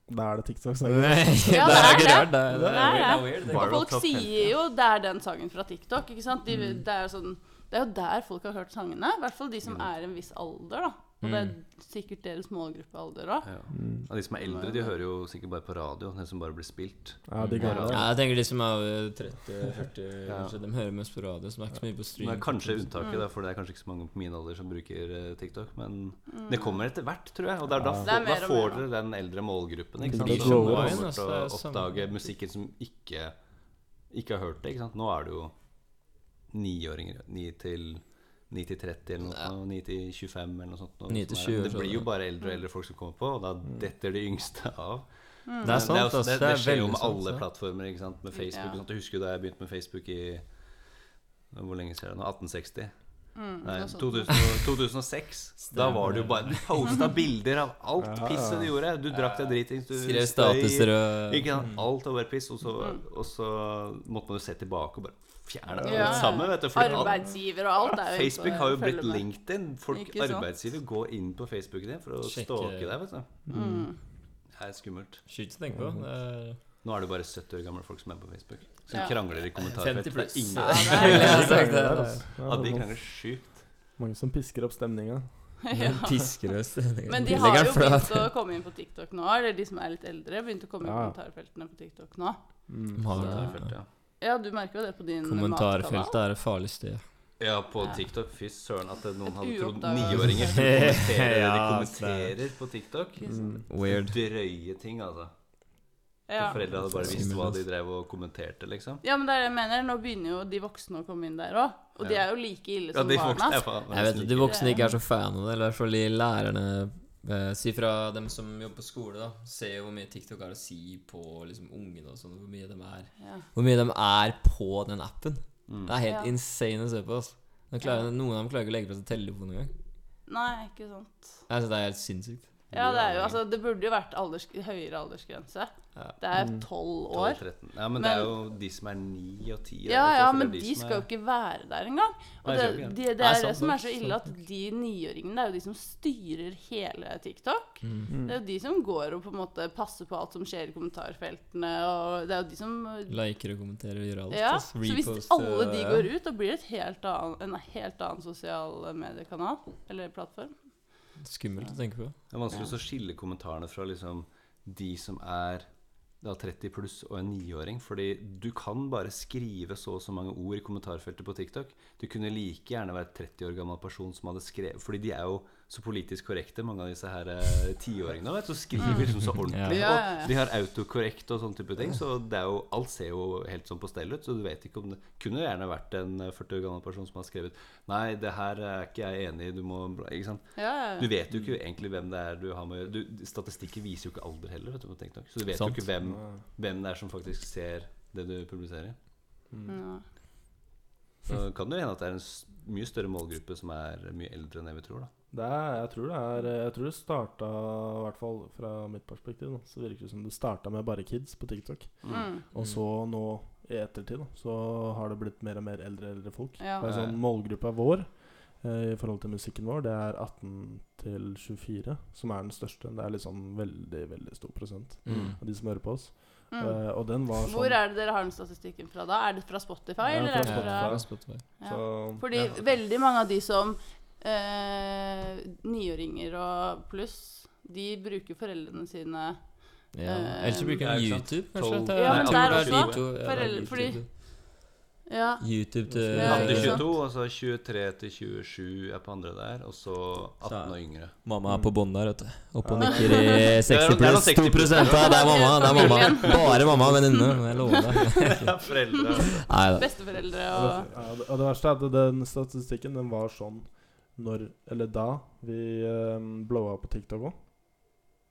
Speaker 4: da er det TikTok-sanger.
Speaker 3: Nei,
Speaker 2: Ja,
Speaker 3: det
Speaker 2: det
Speaker 3: er
Speaker 2: er
Speaker 3: ikke
Speaker 2: det.
Speaker 3: rart. Det er, det
Speaker 2: Det
Speaker 3: er
Speaker 2: er
Speaker 3: weird,
Speaker 2: det.
Speaker 3: det er weird.
Speaker 1: Bare-
Speaker 2: Og
Speaker 1: Viral
Speaker 2: folk
Speaker 1: top ten,
Speaker 2: sier jo det er den sangen fra TikTok, ikke sant? De, det, er jo sånn, det er jo der folk har hørt sangene. I hvert fall de som
Speaker 1: Mm.
Speaker 2: er en viss alder, da. Og det er sikkert deres målgruppealder òg.
Speaker 1: Ja.
Speaker 4: Mm.
Speaker 1: Og de som er eldre, de hører jo sikkert bare på radio. Det som bare blir spilt.
Speaker 4: Ja, de går
Speaker 3: Ja, jeg
Speaker 4: det.
Speaker 3: tenker de som er over 30-40,
Speaker 1: Ja.
Speaker 3: kanskje, de hører mest på radio. Som er ikke så mye på stream.
Speaker 1: Det er kanskje unntaket,
Speaker 2: Mm.
Speaker 1: da, for det er kanskje ikke så mange på min alder som bruker eh, TikTok. Men
Speaker 2: Mm.
Speaker 1: det kommer etter hvert, tror jeg. Og det er da,
Speaker 4: Ja.
Speaker 2: Det er
Speaker 1: få-
Speaker 2: mer
Speaker 1: da
Speaker 2: og
Speaker 1: får
Speaker 2: mer,
Speaker 1: dere den eldre målgruppen. Ikke
Speaker 4: Det
Speaker 1: sant?
Speaker 4: blir
Speaker 1: De som
Speaker 4: grower,
Speaker 1: kommer
Speaker 3: altså.
Speaker 1: til å
Speaker 3: Det er samme-
Speaker 1: oppdage musikken som ikke, ikke har hørt det. Ikke sant? Nå er det jo niåringer. 9 til 9 til 30 eller noe sånt. 9 til 25 eller noe sånt. nå,
Speaker 3: Ni til
Speaker 1: som er-
Speaker 3: 20,
Speaker 1: det
Speaker 3: så
Speaker 1: blir jo
Speaker 3: det-
Speaker 1: bare eldre og eldre folk som kommer på, og da detter de yngste
Speaker 2: Mm.
Speaker 1: av.
Speaker 3: Mm. Det er sant,
Speaker 1: det, også-
Speaker 3: ass.
Speaker 1: det, det skjer jo
Speaker 3: veldig
Speaker 1: med
Speaker 3: sant, altså.
Speaker 1: alle
Speaker 3: det.
Speaker 1: plattformer. Ikke sant? Med Facebook
Speaker 2: Ja.
Speaker 1: ikke sant? Du husker jo da jeg begynte med Facebook i Hvor lenge siden er det nå? 1860?
Speaker 2: Mm,
Speaker 1: Nei,
Speaker 2: sånn
Speaker 1: 2000, og- 2006. Da var det jo bare Du posta bilder av alt
Speaker 4: Ja,
Speaker 1: pisset du gjorde. Du drakk deg dritings. Du støy,
Speaker 3: Skrev statuser og
Speaker 1: Ikke sant? Alt var bare piss. Og så, og så måtte man jo se tilbake og bare fjerne alt
Speaker 2: Ja.
Speaker 1: sammen. Vet du, fordi alt-
Speaker 2: Arbeidsgiver og alt er jo inne på
Speaker 1: Facebook
Speaker 2: det.
Speaker 1: har jo blitt
Speaker 2: Følger med.
Speaker 1: LinkedIn. Folk,
Speaker 2: Ikke sant?
Speaker 1: arbeidsgiver går inn på Facebooken din for å
Speaker 3: Sjekke-
Speaker 1: stalke deg. Vet
Speaker 2: Mm.
Speaker 1: du.
Speaker 4: Mm.
Speaker 1: Mm. Det er skummelt.
Speaker 3: Skyt å tenke på. Det er
Speaker 1: Nå er det jo bare 70 år gamle folk som er på Facebook. Som
Speaker 2: Ja.
Speaker 1: krangler i kommentarfelt. for
Speaker 3: 50
Speaker 1: det er
Speaker 3: pluss.
Speaker 1: ingen-
Speaker 3: Ja,
Speaker 2: Ja,
Speaker 4: Ja,
Speaker 2: det
Speaker 4: de
Speaker 2: er-
Speaker 3: det er-
Speaker 4: krangler der, altså. Ja,
Speaker 1: Ja, de
Speaker 4: det er
Speaker 1: krangler sjukt.
Speaker 4: Mange som pisker opp stemninga.
Speaker 3: Piskeløs stemning.
Speaker 2: Men de har
Speaker 3: Legger
Speaker 2: jo
Speaker 3: den flat.
Speaker 2: begynt å komme inn på TikTok nå, eller de som er litt eldre, begynt å komme inn på
Speaker 4: Ja.
Speaker 2: kommentarfeltene på TikTok nå.
Speaker 4: Mm.
Speaker 1: Kommentarfelt, ja.
Speaker 2: Ja, du merker jo det på din
Speaker 3: Kommentarfeltet
Speaker 2: matkanal.
Speaker 3: er det farligste.
Speaker 1: ja, på TikTok. Fy søren at noen
Speaker 2: Et
Speaker 1: hadde trodd
Speaker 2: uoppdaget-
Speaker 1: niåringer skulle kommentere det de
Speaker 3: Ja,
Speaker 1: kommenterer på TikTok.
Speaker 2: Ikke sant?
Speaker 4: Mm.
Speaker 3: Weird.
Speaker 1: Drøye ting, altså.
Speaker 2: Ja.
Speaker 1: Foreldre hadde bare visst hva de drev og kommenterte, liksom.
Speaker 2: ja, men det er det jeg mener. Nå begynner jo de voksne å komme inn der òg. Og de
Speaker 1: Ja.
Speaker 2: er jo like ille
Speaker 1: Ja,
Speaker 2: som
Speaker 1: de voksne
Speaker 2: barna.
Speaker 1: er faen
Speaker 3: Jeg vet
Speaker 1: nesten
Speaker 3: at De
Speaker 1: like-
Speaker 3: voksne ikke er så fan av det, eller i hvert fall de lærerne eh, Si fra dem som jobber på skole, da. Se jo hvor mye TikTok har å si på liksom, ungene og sånn. Hvor mye de er
Speaker 2: Ja.
Speaker 3: Hvor mye de er på den appen. Det er helt
Speaker 2: Ja.
Speaker 3: insane å se på. Altså. De klarer, Noen av dem klarer ikke å legge fra seg telefonen engang.
Speaker 2: Nei, ikke sant.
Speaker 3: Jeg synes det er helt sinnssykt.
Speaker 2: Ja, det, er jo, altså, det burde jo vært alders, høyere aldersgrense.
Speaker 3: Ja.
Speaker 2: Det er tolv år.
Speaker 1: 12-13. Ja, men det er
Speaker 2: Men-
Speaker 1: jo de som er 9 og 10.
Speaker 2: Ja, ja, men de skal jo ikke være der engang. Og
Speaker 1: Nei,
Speaker 2: det,
Speaker 1: jeg tror ikke det.
Speaker 2: de, det
Speaker 3: Nei,
Speaker 2: er det
Speaker 3: sant
Speaker 2: som
Speaker 3: nok,
Speaker 2: er så ille, at de niåringene det er jo de som styrer hele TikTok.
Speaker 4: Mm.
Speaker 2: Det er jo de som går og på en måte passer på alt som skjer i kommentarfeltene, og det er jo de som
Speaker 3: Liker og kommenterer og gjør alt.
Speaker 2: ja,
Speaker 3: ass.
Speaker 2: så hvis
Speaker 3: Repost,
Speaker 2: alle de
Speaker 3: eh,
Speaker 2: går ut, da blir det et helt annen, en helt annen sosial mediekanal eller plattform.
Speaker 3: Skummelt å tenke på.
Speaker 1: Det er vanskelig å skille kommentarene fra liksom de som er da 30 pluss og en niåring. Fordi du kan bare skrive så og så mange ord i kommentarfeltet på TikTok. Du kunne like gjerne være 30 år gammel person som hadde skrevet Fordi de er jo så politisk korrekte, mange av disse her eh, tiåringene. vet du, Så skriver liksom så ordentlig.
Speaker 2: Ja. Ja, ja, ja.
Speaker 1: Og de har autokorrekt og sånne type ting. Så det er jo, alt ser jo helt sånn på stell ut. Så du vet ikke om det kunne gjerne vært en eh, 40 år gammel person som har skrevet Nei, det her er ikke jeg enig i, du må Ikke sant.
Speaker 2: Ja, ja,
Speaker 1: Du
Speaker 2: ja.
Speaker 1: vet jo ikke egentlig hvem det er du har med å gjøre. Du- Statistikken viser jo ikke alder heller. Vet du, på TikTok. Så du vet jo
Speaker 3: Sant.
Speaker 1: ikke hvem, hvem det er som faktisk ser det du publiserer.
Speaker 4: Mm.
Speaker 2: Ja.
Speaker 3: Mm.
Speaker 1: Så kan det hende at det er en s- mye større målgruppe som er mye eldre enn det vi tror. da
Speaker 4: Det er, jeg tror det er Jeg tror det starta, i hvert fall fra mitt perspektiv, da, så virker det som det starta med bare kids på TikTok.
Speaker 2: Mm.
Speaker 4: Og så nå i ettertid, da, så har det blitt mer og mer eldre eldre folk.
Speaker 2: Ja.
Speaker 4: Det er sånn Målgruppa vår eh, i forhold til musikken vår, det er 18 til 24, som er den største. Det er liksom veldig, veldig stor prosent
Speaker 3: Mm.
Speaker 4: av de som hører på oss.
Speaker 2: Mm.
Speaker 4: Eh, og den var sånn
Speaker 2: Hvor er det dere har den statistikken fra da? Er det fra Spotify?
Speaker 4: Ja,
Speaker 2: eller
Speaker 4: fra
Speaker 2: er det fra
Speaker 3: Ja, Spotify.
Speaker 2: ja.
Speaker 4: så-
Speaker 2: Fordi
Speaker 3: Ja.
Speaker 2: veldig mange av de som eh, Niåringer og pluss, de bruker foreldrene sine
Speaker 3: Ja.
Speaker 2: Eh,
Speaker 3: Ellers så bruker
Speaker 1: Ja,
Speaker 3: han
Speaker 1: ikke sant?
Speaker 3: YouTube, kanskje?
Speaker 1: Tolv-
Speaker 3: til-
Speaker 2: Ja,
Speaker 1: men
Speaker 3: Nei,
Speaker 1: der
Speaker 3: jeg tror det
Speaker 1: også.
Speaker 3: er de to. Ja, det er
Speaker 2: Foreldre-
Speaker 3: YouTube
Speaker 2: fordi-
Speaker 3: til-
Speaker 2: Ja.
Speaker 3: YouTube til
Speaker 2: Ja,
Speaker 1: Fram til
Speaker 2: ikke sant.
Speaker 1: 22, og så 23 altså til 27 er på andre der, og så 18 og yngre.
Speaker 3: Mamma er på bånn der, vet du. Oppe og
Speaker 4: Ja.
Speaker 3: nikker i 60
Speaker 1: Mm. Det er noen
Speaker 3: pluss. 2
Speaker 1: 60 pluss.
Speaker 3: ja, det er mamma. det er mamma
Speaker 2: Familien.
Speaker 3: Bare mamma og venninne. Jeg lover deg.
Speaker 1: Ja, foreldre
Speaker 3: Nei da.
Speaker 2: Besteforeldre
Speaker 4: Ja,
Speaker 2: og
Speaker 4: det, og det verste er at den statistikken den var sånn når, eller da, vi um, blowa på TikTok òg.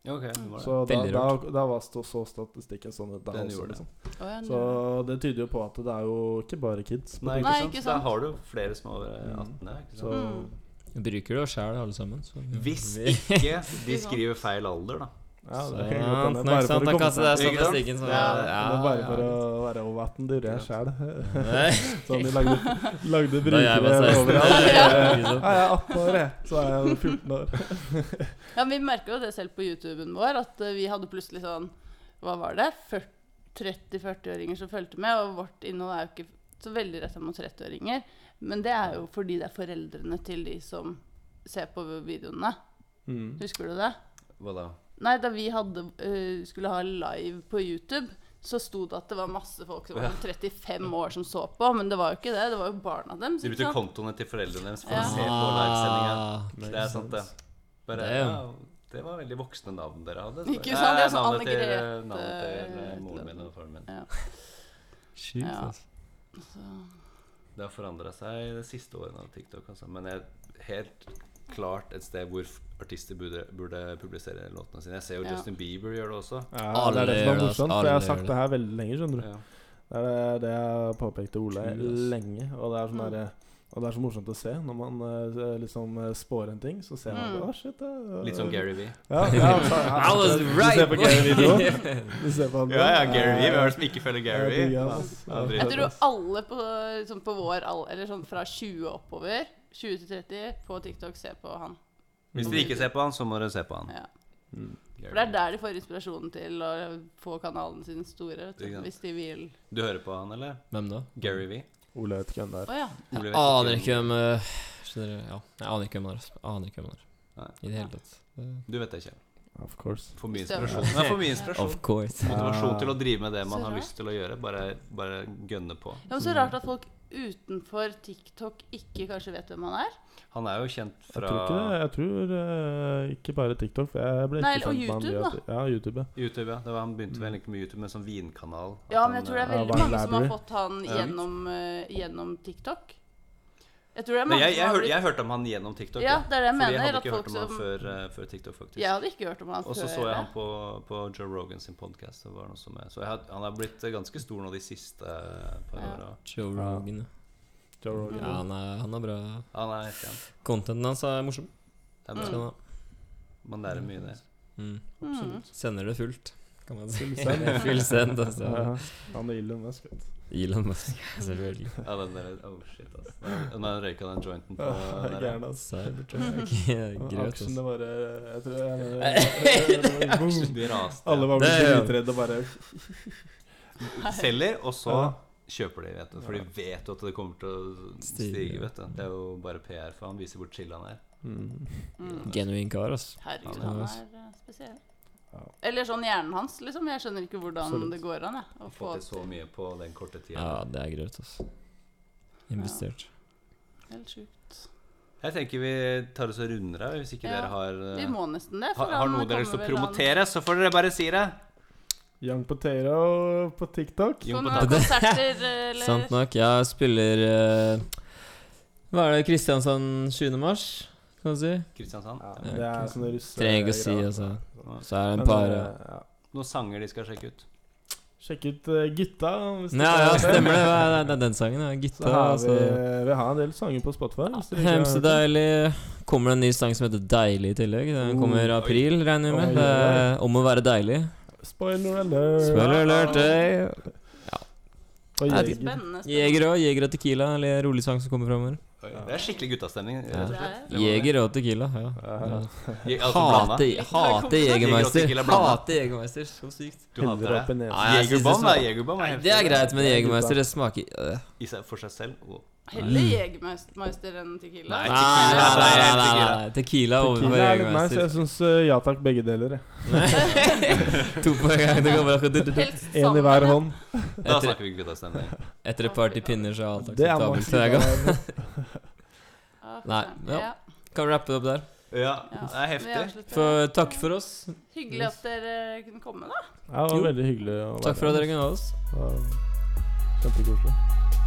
Speaker 1: Ja, ok, det var det.
Speaker 4: Så da,
Speaker 3: Veldig
Speaker 4: da,
Speaker 3: rart.
Speaker 4: da var stå, så statistikken sånn ut. da
Speaker 1: Den
Speaker 4: også,
Speaker 1: gjorde det.
Speaker 4: liksom.
Speaker 2: Å, ja,
Speaker 4: Så det tyder jo på at det er jo ikke bare kids. på
Speaker 1: Nei,
Speaker 4: TikTok.
Speaker 1: ikke
Speaker 2: Nei,
Speaker 1: sant?
Speaker 2: ikke
Speaker 1: Da
Speaker 2: sant.
Speaker 1: har du flere som er over eh, 18. Ja, ikke
Speaker 4: Så
Speaker 1: sant?
Speaker 2: Mm.
Speaker 3: Jeg bruker det jo sjæl, alle sammen. Så.
Speaker 1: Hvis ikke de
Speaker 2: Ikke sant.
Speaker 1: skriver feil alder, da.
Speaker 4: ja,
Speaker 3: Så,
Speaker 4: det kan
Speaker 3: ja,
Speaker 4: godt hende.
Speaker 3: nok
Speaker 4: Bare
Speaker 3: Sånn, sant,
Speaker 4: for
Speaker 3: da
Speaker 4: å komme
Speaker 3: kaster jeg
Speaker 4: seg
Speaker 1: Ikke sant?
Speaker 3: statistikken som
Speaker 2: Ja,
Speaker 4: ja, men Bare for å være over 18, det gjorde jeg sjæl. Sånn de lagde, lagde
Speaker 3: Da jeg var
Speaker 4: brukere
Speaker 3: 16.
Speaker 4: overalt.
Speaker 3: Ja.
Speaker 4: Ja, jeg er 18 år, jeg. Så er jeg jo 14 år.
Speaker 2: Ja, men Vi merka jo det selv på YouTuben vår, at eh, vi hadde plutselig sånn Hva var det? 40 30-40-åringer som fulgte med, og vårt innhold er jo ikke så veldig retta mot 30-åringer. Men det er jo fordi det er foreldrene til de som ser på videoene.
Speaker 4: Mm.
Speaker 2: Husker du det?
Speaker 1: Hva da?
Speaker 2: Nei, da vi hadde, eh, skulle ha live på YouTube, så sto det at det var masse folk som var sånn 35 år som så på, men det var jo ikke det. Det var jo barna deres.
Speaker 1: De
Speaker 2: ikke
Speaker 1: brukte
Speaker 2: sant?
Speaker 1: kontoene til foreldrene deres for
Speaker 2: Ja.
Speaker 1: å se på livesendinga.
Speaker 4: Makes
Speaker 1: Det er sant, det. Bare,
Speaker 3: Ah, Damn.
Speaker 1: ja, det var veldig voksne navn dere hadde.
Speaker 2: Ikke sant? Det er sånn
Speaker 1: navnet
Speaker 2: Anne
Speaker 1: til-
Speaker 2: Grete-
Speaker 1: Navnet til eh,
Speaker 2: et eller
Speaker 1: moren min
Speaker 2: annet.
Speaker 1: og faren min.
Speaker 3: Sjukt,
Speaker 2: Ja.
Speaker 3: altså.
Speaker 1: Det har forandra seg de siste årene av TikTok, altså. Men jeg er helt klart et sted hvor f- artister burde, burde publisere låtene sine. Jeg ser jo
Speaker 2: Ja.
Speaker 1: Justin Bieber gjør det også.
Speaker 4: Ja, det
Speaker 3: Alle gjør
Speaker 4: er det som er
Speaker 3: det, altså.
Speaker 4: morsomt. For
Speaker 3: alle
Speaker 4: jeg har
Speaker 3: gjør
Speaker 4: sagt
Speaker 3: det.
Speaker 4: det her veldig lenge, skjønner du.
Speaker 1: Ja.
Speaker 4: Det er det, det jeg påpekte Ole
Speaker 3: Kul, ass.
Speaker 4: lenge. Og det, er sånn
Speaker 2: Mm.
Speaker 4: derre- og det er så morsomt å se. Når man eh, liksom eh, spår en ting, så ser man
Speaker 2: Mm.
Speaker 4: Å, shit. det-
Speaker 1: Litt som Gary Vee.
Speaker 4: Ja, ja, så,
Speaker 3: I was
Speaker 4: du
Speaker 3: right,
Speaker 4: ser på Gary Vee
Speaker 3: boy.
Speaker 4: nå? Du ser på han nå?
Speaker 1: Ja, ja, Gary Vee. Hvem er det som ikke følger Gary
Speaker 4: Jeg
Speaker 1: Vee?
Speaker 4: digger han, ass.
Speaker 1: Ja,
Speaker 2: Jeg
Speaker 1: dritt.
Speaker 2: tror alle på, sånn på vår alder, eller sånn fra 20 oppover, 20 til 30, på TikTok ser på han.
Speaker 4: Mm.
Speaker 1: Hvis dere ikke ser på han, så må dere se på han.
Speaker 2: Ja.
Speaker 1: Gary
Speaker 2: For det er
Speaker 1: Vee.
Speaker 2: der de får inspirasjonen til å få kanalen sin store,
Speaker 1: Ikke
Speaker 2: vet du,
Speaker 1: sant.
Speaker 2: hvis de vil.
Speaker 1: Du hører på han, eller?
Speaker 3: Hvem da?
Speaker 1: Gary Vee?
Speaker 4: Ole vet ikke hvem det
Speaker 2: Å
Speaker 4: er.
Speaker 2: ja.
Speaker 1: Ole
Speaker 3: Jeg
Speaker 1: vet hvem-
Speaker 3: aner Ah, ikke hvem eh, skjønner du, Ja, jeg aner ikke hvem han er. altså. Aner ikke hvem han
Speaker 1: Nei.
Speaker 3: er. I det hele tatt. Det-
Speaker 1: Du vet det ikke.
Speaker 4: Of course.
Speaker 1: For mye
Speaker 2: Stemmer.
Speaker 1: inspirasjon. Det er for mye inspirasjon.
Speaker 3: Of course.
Speaker 1: Motivasjon til å drive med det man
Speaker 2: Så
Speaker 1: har
Speaker 2: rart.
Speaker 1: lyst til å gjøre. Bare, bare gønne på.
Speaker 2: Det er så rart at folk utenfor TikTok ikke kanskje vet hvem han er.
Speaker 1: Han er jo kjent
Speaker 4: Jeg
Speaker 1: fra
Speaker 4: tror ikke det. Jeg tror eh, ikke bare TikTok. For jeg ble ikke
Speaker 2: Nei, og
Speaker 4: kjent med han
Speaker 2: YouTube,
Speaker 4: via ti- Ja, YouTube, ja.
Speaker 1: YouTube, ja. Det var, han begynte
Speaker 4: Mm.
Speaker 1: vel ikke med YouTube, men sånn vinkanal.
Speaker 2: Ja,
Speaker 1: At han,
Speaker 2: men jeg tror det
Speaker 1: eh,
Speaker 2: er
Speaker 4: Ja,
Speaker 2: veldig
Speaker 4: Vine
Speaker 2: mange som har
Speaker 4: Library.
Speaker 2: fått han
Speaker 1: Ja.
Speaker 2: gjennom, eh, gjennom TikTok. Jeg tror det er
Speaker 1: Nei,
Speaker 2: mange
Speaker 1: jeg, jeg,
Speaker 2: som har
Speaker 1: hør,
Speaker 2: blitt
Speaker 1: jeg hørte om han gjennom TikTok.
Speaker 2: Ja, det er det jeg
Speaker 1: Fordi
Speaker 2: mener,
Speaker 1: jeg hadde
Speaker 2: at
Speaker 1: ikke hørt
Speaker 2: folk
Speaker 1: om han
Speaker 2: som-
Speaker 1: før, eh, før TikTok, faktisk.
Speaker 2: Jeg hadde ikke hørt om han
Speaker 1: Og
Speaker 2: før.
Speaker 1: så så jeg han
Speaker 2: det.
Speaker 1: på, på Joe Rogan sin podkast. Så jeg had, han har blitt eh, ganske stor nå de siste eh, par
Speaker 2: Ja.
Speaker 1: åra.
Speaker 3: Joe Rogan. ja.
Speaker 4: Joe Rogan.
Speaker 3: Ja, han er, han er bra.
Speaker 1: Han er helt kjent.
Speaker 3: Contenten hans er morsom.
Speaker 1: Det er
Speaker 3: Skal
Speaker 1: bra.
Speaker 3: han ha.
Speaker 1: Man lærer mye der.
Speaker 3: Mm.
Speaker 2: Mm.
Speaker 3: Sender det fullt, kan man si.
Speaker 4: Full send.
Speaker 3: Full send, altså.
Speaker 4: Ja, Han er Elon Musk, vet du.
Speaker 3: Elon Musk, selvfølgelig.
Speaker 1: Ja, den der, oh shit, ass. Nå har han røyka den jointen på
Speaker 4: Ja,
Speaker 1: der, ja.
Speaker 4: Gæren, ass.
Speaker 3: Cybertruck. Grøt, altså.
Speaker 4: Aksjene bare Jeg tror jeg, jeg, boom.
Speaker 1: De raste.
Speaker 4: Alle var
Speaker 3: Det
Speaker 4: blitt
Speaker 3: er jo-
Speaker 4: dritredde og bare
Speaker 1: Selger, og så
Speaker 4: Ja.
Speaker 1: kjøper de, vet du. For de vet jo at det kommer til å
Speaker 3: Stige.
Speaker 1: stige, vet du. Det er jo bare PR, for han viser hvor chill han er.
Speaker 2: Mm.
Speaker 3: Genuin kar, altså.
Speaker 2: Herregud,
Speaker 3: Ja,
Speaker 2: han
Speaker 3: det er
Speaker 2: er eh, spesiell.
Speaker 4: Ja.
Speaker 2: Eller sånn hjernen hans, liksom. Jeg skjønner ikke hvordan
Speaker 4: Absolutt.
Speaker 2: det går an. Jeg, å
Speaker 1: Har
Speaker 2: få
Speaker 1: fått til så mye på den korte tida.
Speaker 3: Ja, det er grøt, altså. Investert.
Speaker 2: Helt sjukt.
Speaker 1: Jeg tenker vi tar oss og runder av, hvis ikke
Speaker 2: Ja.
Speaker 1: dere har eh,
Speaker 2: Vi må nesten det.
Speaker 1: har, har
Speaker 2: han
Speaker 1: noe dere har lyst til å
Speaker 2: kommer vel an-
Speaker 1: promotere, så får dere bare si det.
Speaker 4: Young Potato på TikTok.
Speaker 1: Jo,
Speaker 2: På
Speaker 1: på
Speaker 2: noen
Speaker 1: tatt.
Speaker 2: konserter, eller
Speaker 3: Sant nok. Jeg spiller eh, Hva er det, Kristiansand 20. mars, kan du si?
Speaker 1: Kristiansand.
Speaker 4: Ja,
Speaker 1: Ja.
Speaker 4: det er sånne russe
Speaker 3: Trenger ikke å si, altså. Så er det
Speaker 4: Men,
Speaker 3: en par
Speaker 4: eh, ja.
Speaker 1: Noen sanger de skal sjekke ut.
Speaker 4: Sjekk ut eh, Gutta. hvis dere
Speaker 3: Ja, ja,
Speaker 4: har
Speaker 3: stemmer det. Det er- Det er den sangen. ja.
Speaker 4: Så
Speaker 3: Gutta.
Speaker 4: har vi,
Speaker 3: altså.
Speaker 4: vi har en del sanger på Spotify. hvis dere ikke har
Speaker 3: Hemse
Speaker 4: hørt det.
Speaker 3: deilig. Kommer det en ny sang som heter Deilig i tillegg? Den kommer i april, regner vi
Speaker 4: Mm. Oi,
Speaker 3: med.
Speaker 4: oi,
Speaker 3: Det er om å være deilig.
Speaker 4: Spoiler alert.
Speaker 3: Spoiler alert, ey.
Speaker 4: Og
Speaker 3: Ja,
Speaker 4: Jeger.
Speaker 2: Spennende. spennende.
Speaker 3: Jeger og Jeger og Tequila, eller rolig sang som kommer framover.
Speaker 1: Oi, Det er skikkelig guttastemning.
Speaker 3: Ja.
Speaker 1: rett og slett. Det må det.
Speaker 3: Jeger og Tequila, ja. ja.
Speaker 1: Jeg- altså, blanda.
Speaker 3: Hate, hate Jegermeister.
Speaker 1: Tequila blanda.
Speaker 3: Hate Jegermeister, så sykt.
Speaker 1: Du hater
Speaker 4: Hender opp i
Speaker 1: det.
Speaker 4: nesen.
Speaker 3: Nei, jeg synes
Speaker 1: Jegerbomb
Speaker 3: det
Speaker 1: er
Speaker 3: smaker-
Speaker 1: jegerbomb.
Speaker 3: Nei,
Speaker 1: er helt-
Speaker 3: Det er greit, men Jegermeister, det smaker øh.
Speaker 1: I seg, for seg selv. Åh.
Speaker 2: Heller Jegermeister enn Tequila.
Speaker 1: Nei.
Speaker 3: Nei,
Speaker 1: Tequila, det er tequila.
Speaker 3: nei, nei, nei, nei, nei. Tequila overfor
Speaker 4: Tequila er litt nice. Jeg
Speaker 3: Jegermeister.
Speaker 4: syns ja takk, begge deler. jeg.
Speaker 3: To på en gang. Det går bra. Du, du, du.
Speaker 2: Helst
Speaker 4: Én i
Speaker 2: sammen.
Speaker 4: hver hånd.
Speaker 1: Da
Speaker 3: Etter,
Speaker 1: snakker vi guttastemning.
Speaker 3: etter et par til pinner, så er alt
Speaker 4: Det er
Speaker 3: akseptabelt. Så jeg kan-
Speaker 4: mange.
Speaker 2: Ja, for
Speaker 3: Nei,
Speaker 2: faen.
Speaker 3: ja. Kan rappe det opp der.
Speaker 1: Ja,
Speaker 2: Ja.
Speaker 1: det er
Speaker 2: Vi
Speaker 1: heftig.
Speaker 2: avslutter.
Speaker 3: For, takk for oss.
Speaker 2: Hyggelig at dere kunne komme, da.
Speaker 4: Ja, det var veldig hyggelig å være
Speaker 3: Takk for at
Speaker 4: her.
Speaker 3: dere kunne ha oss.
Speaker 4: Det var Kjempekoselig.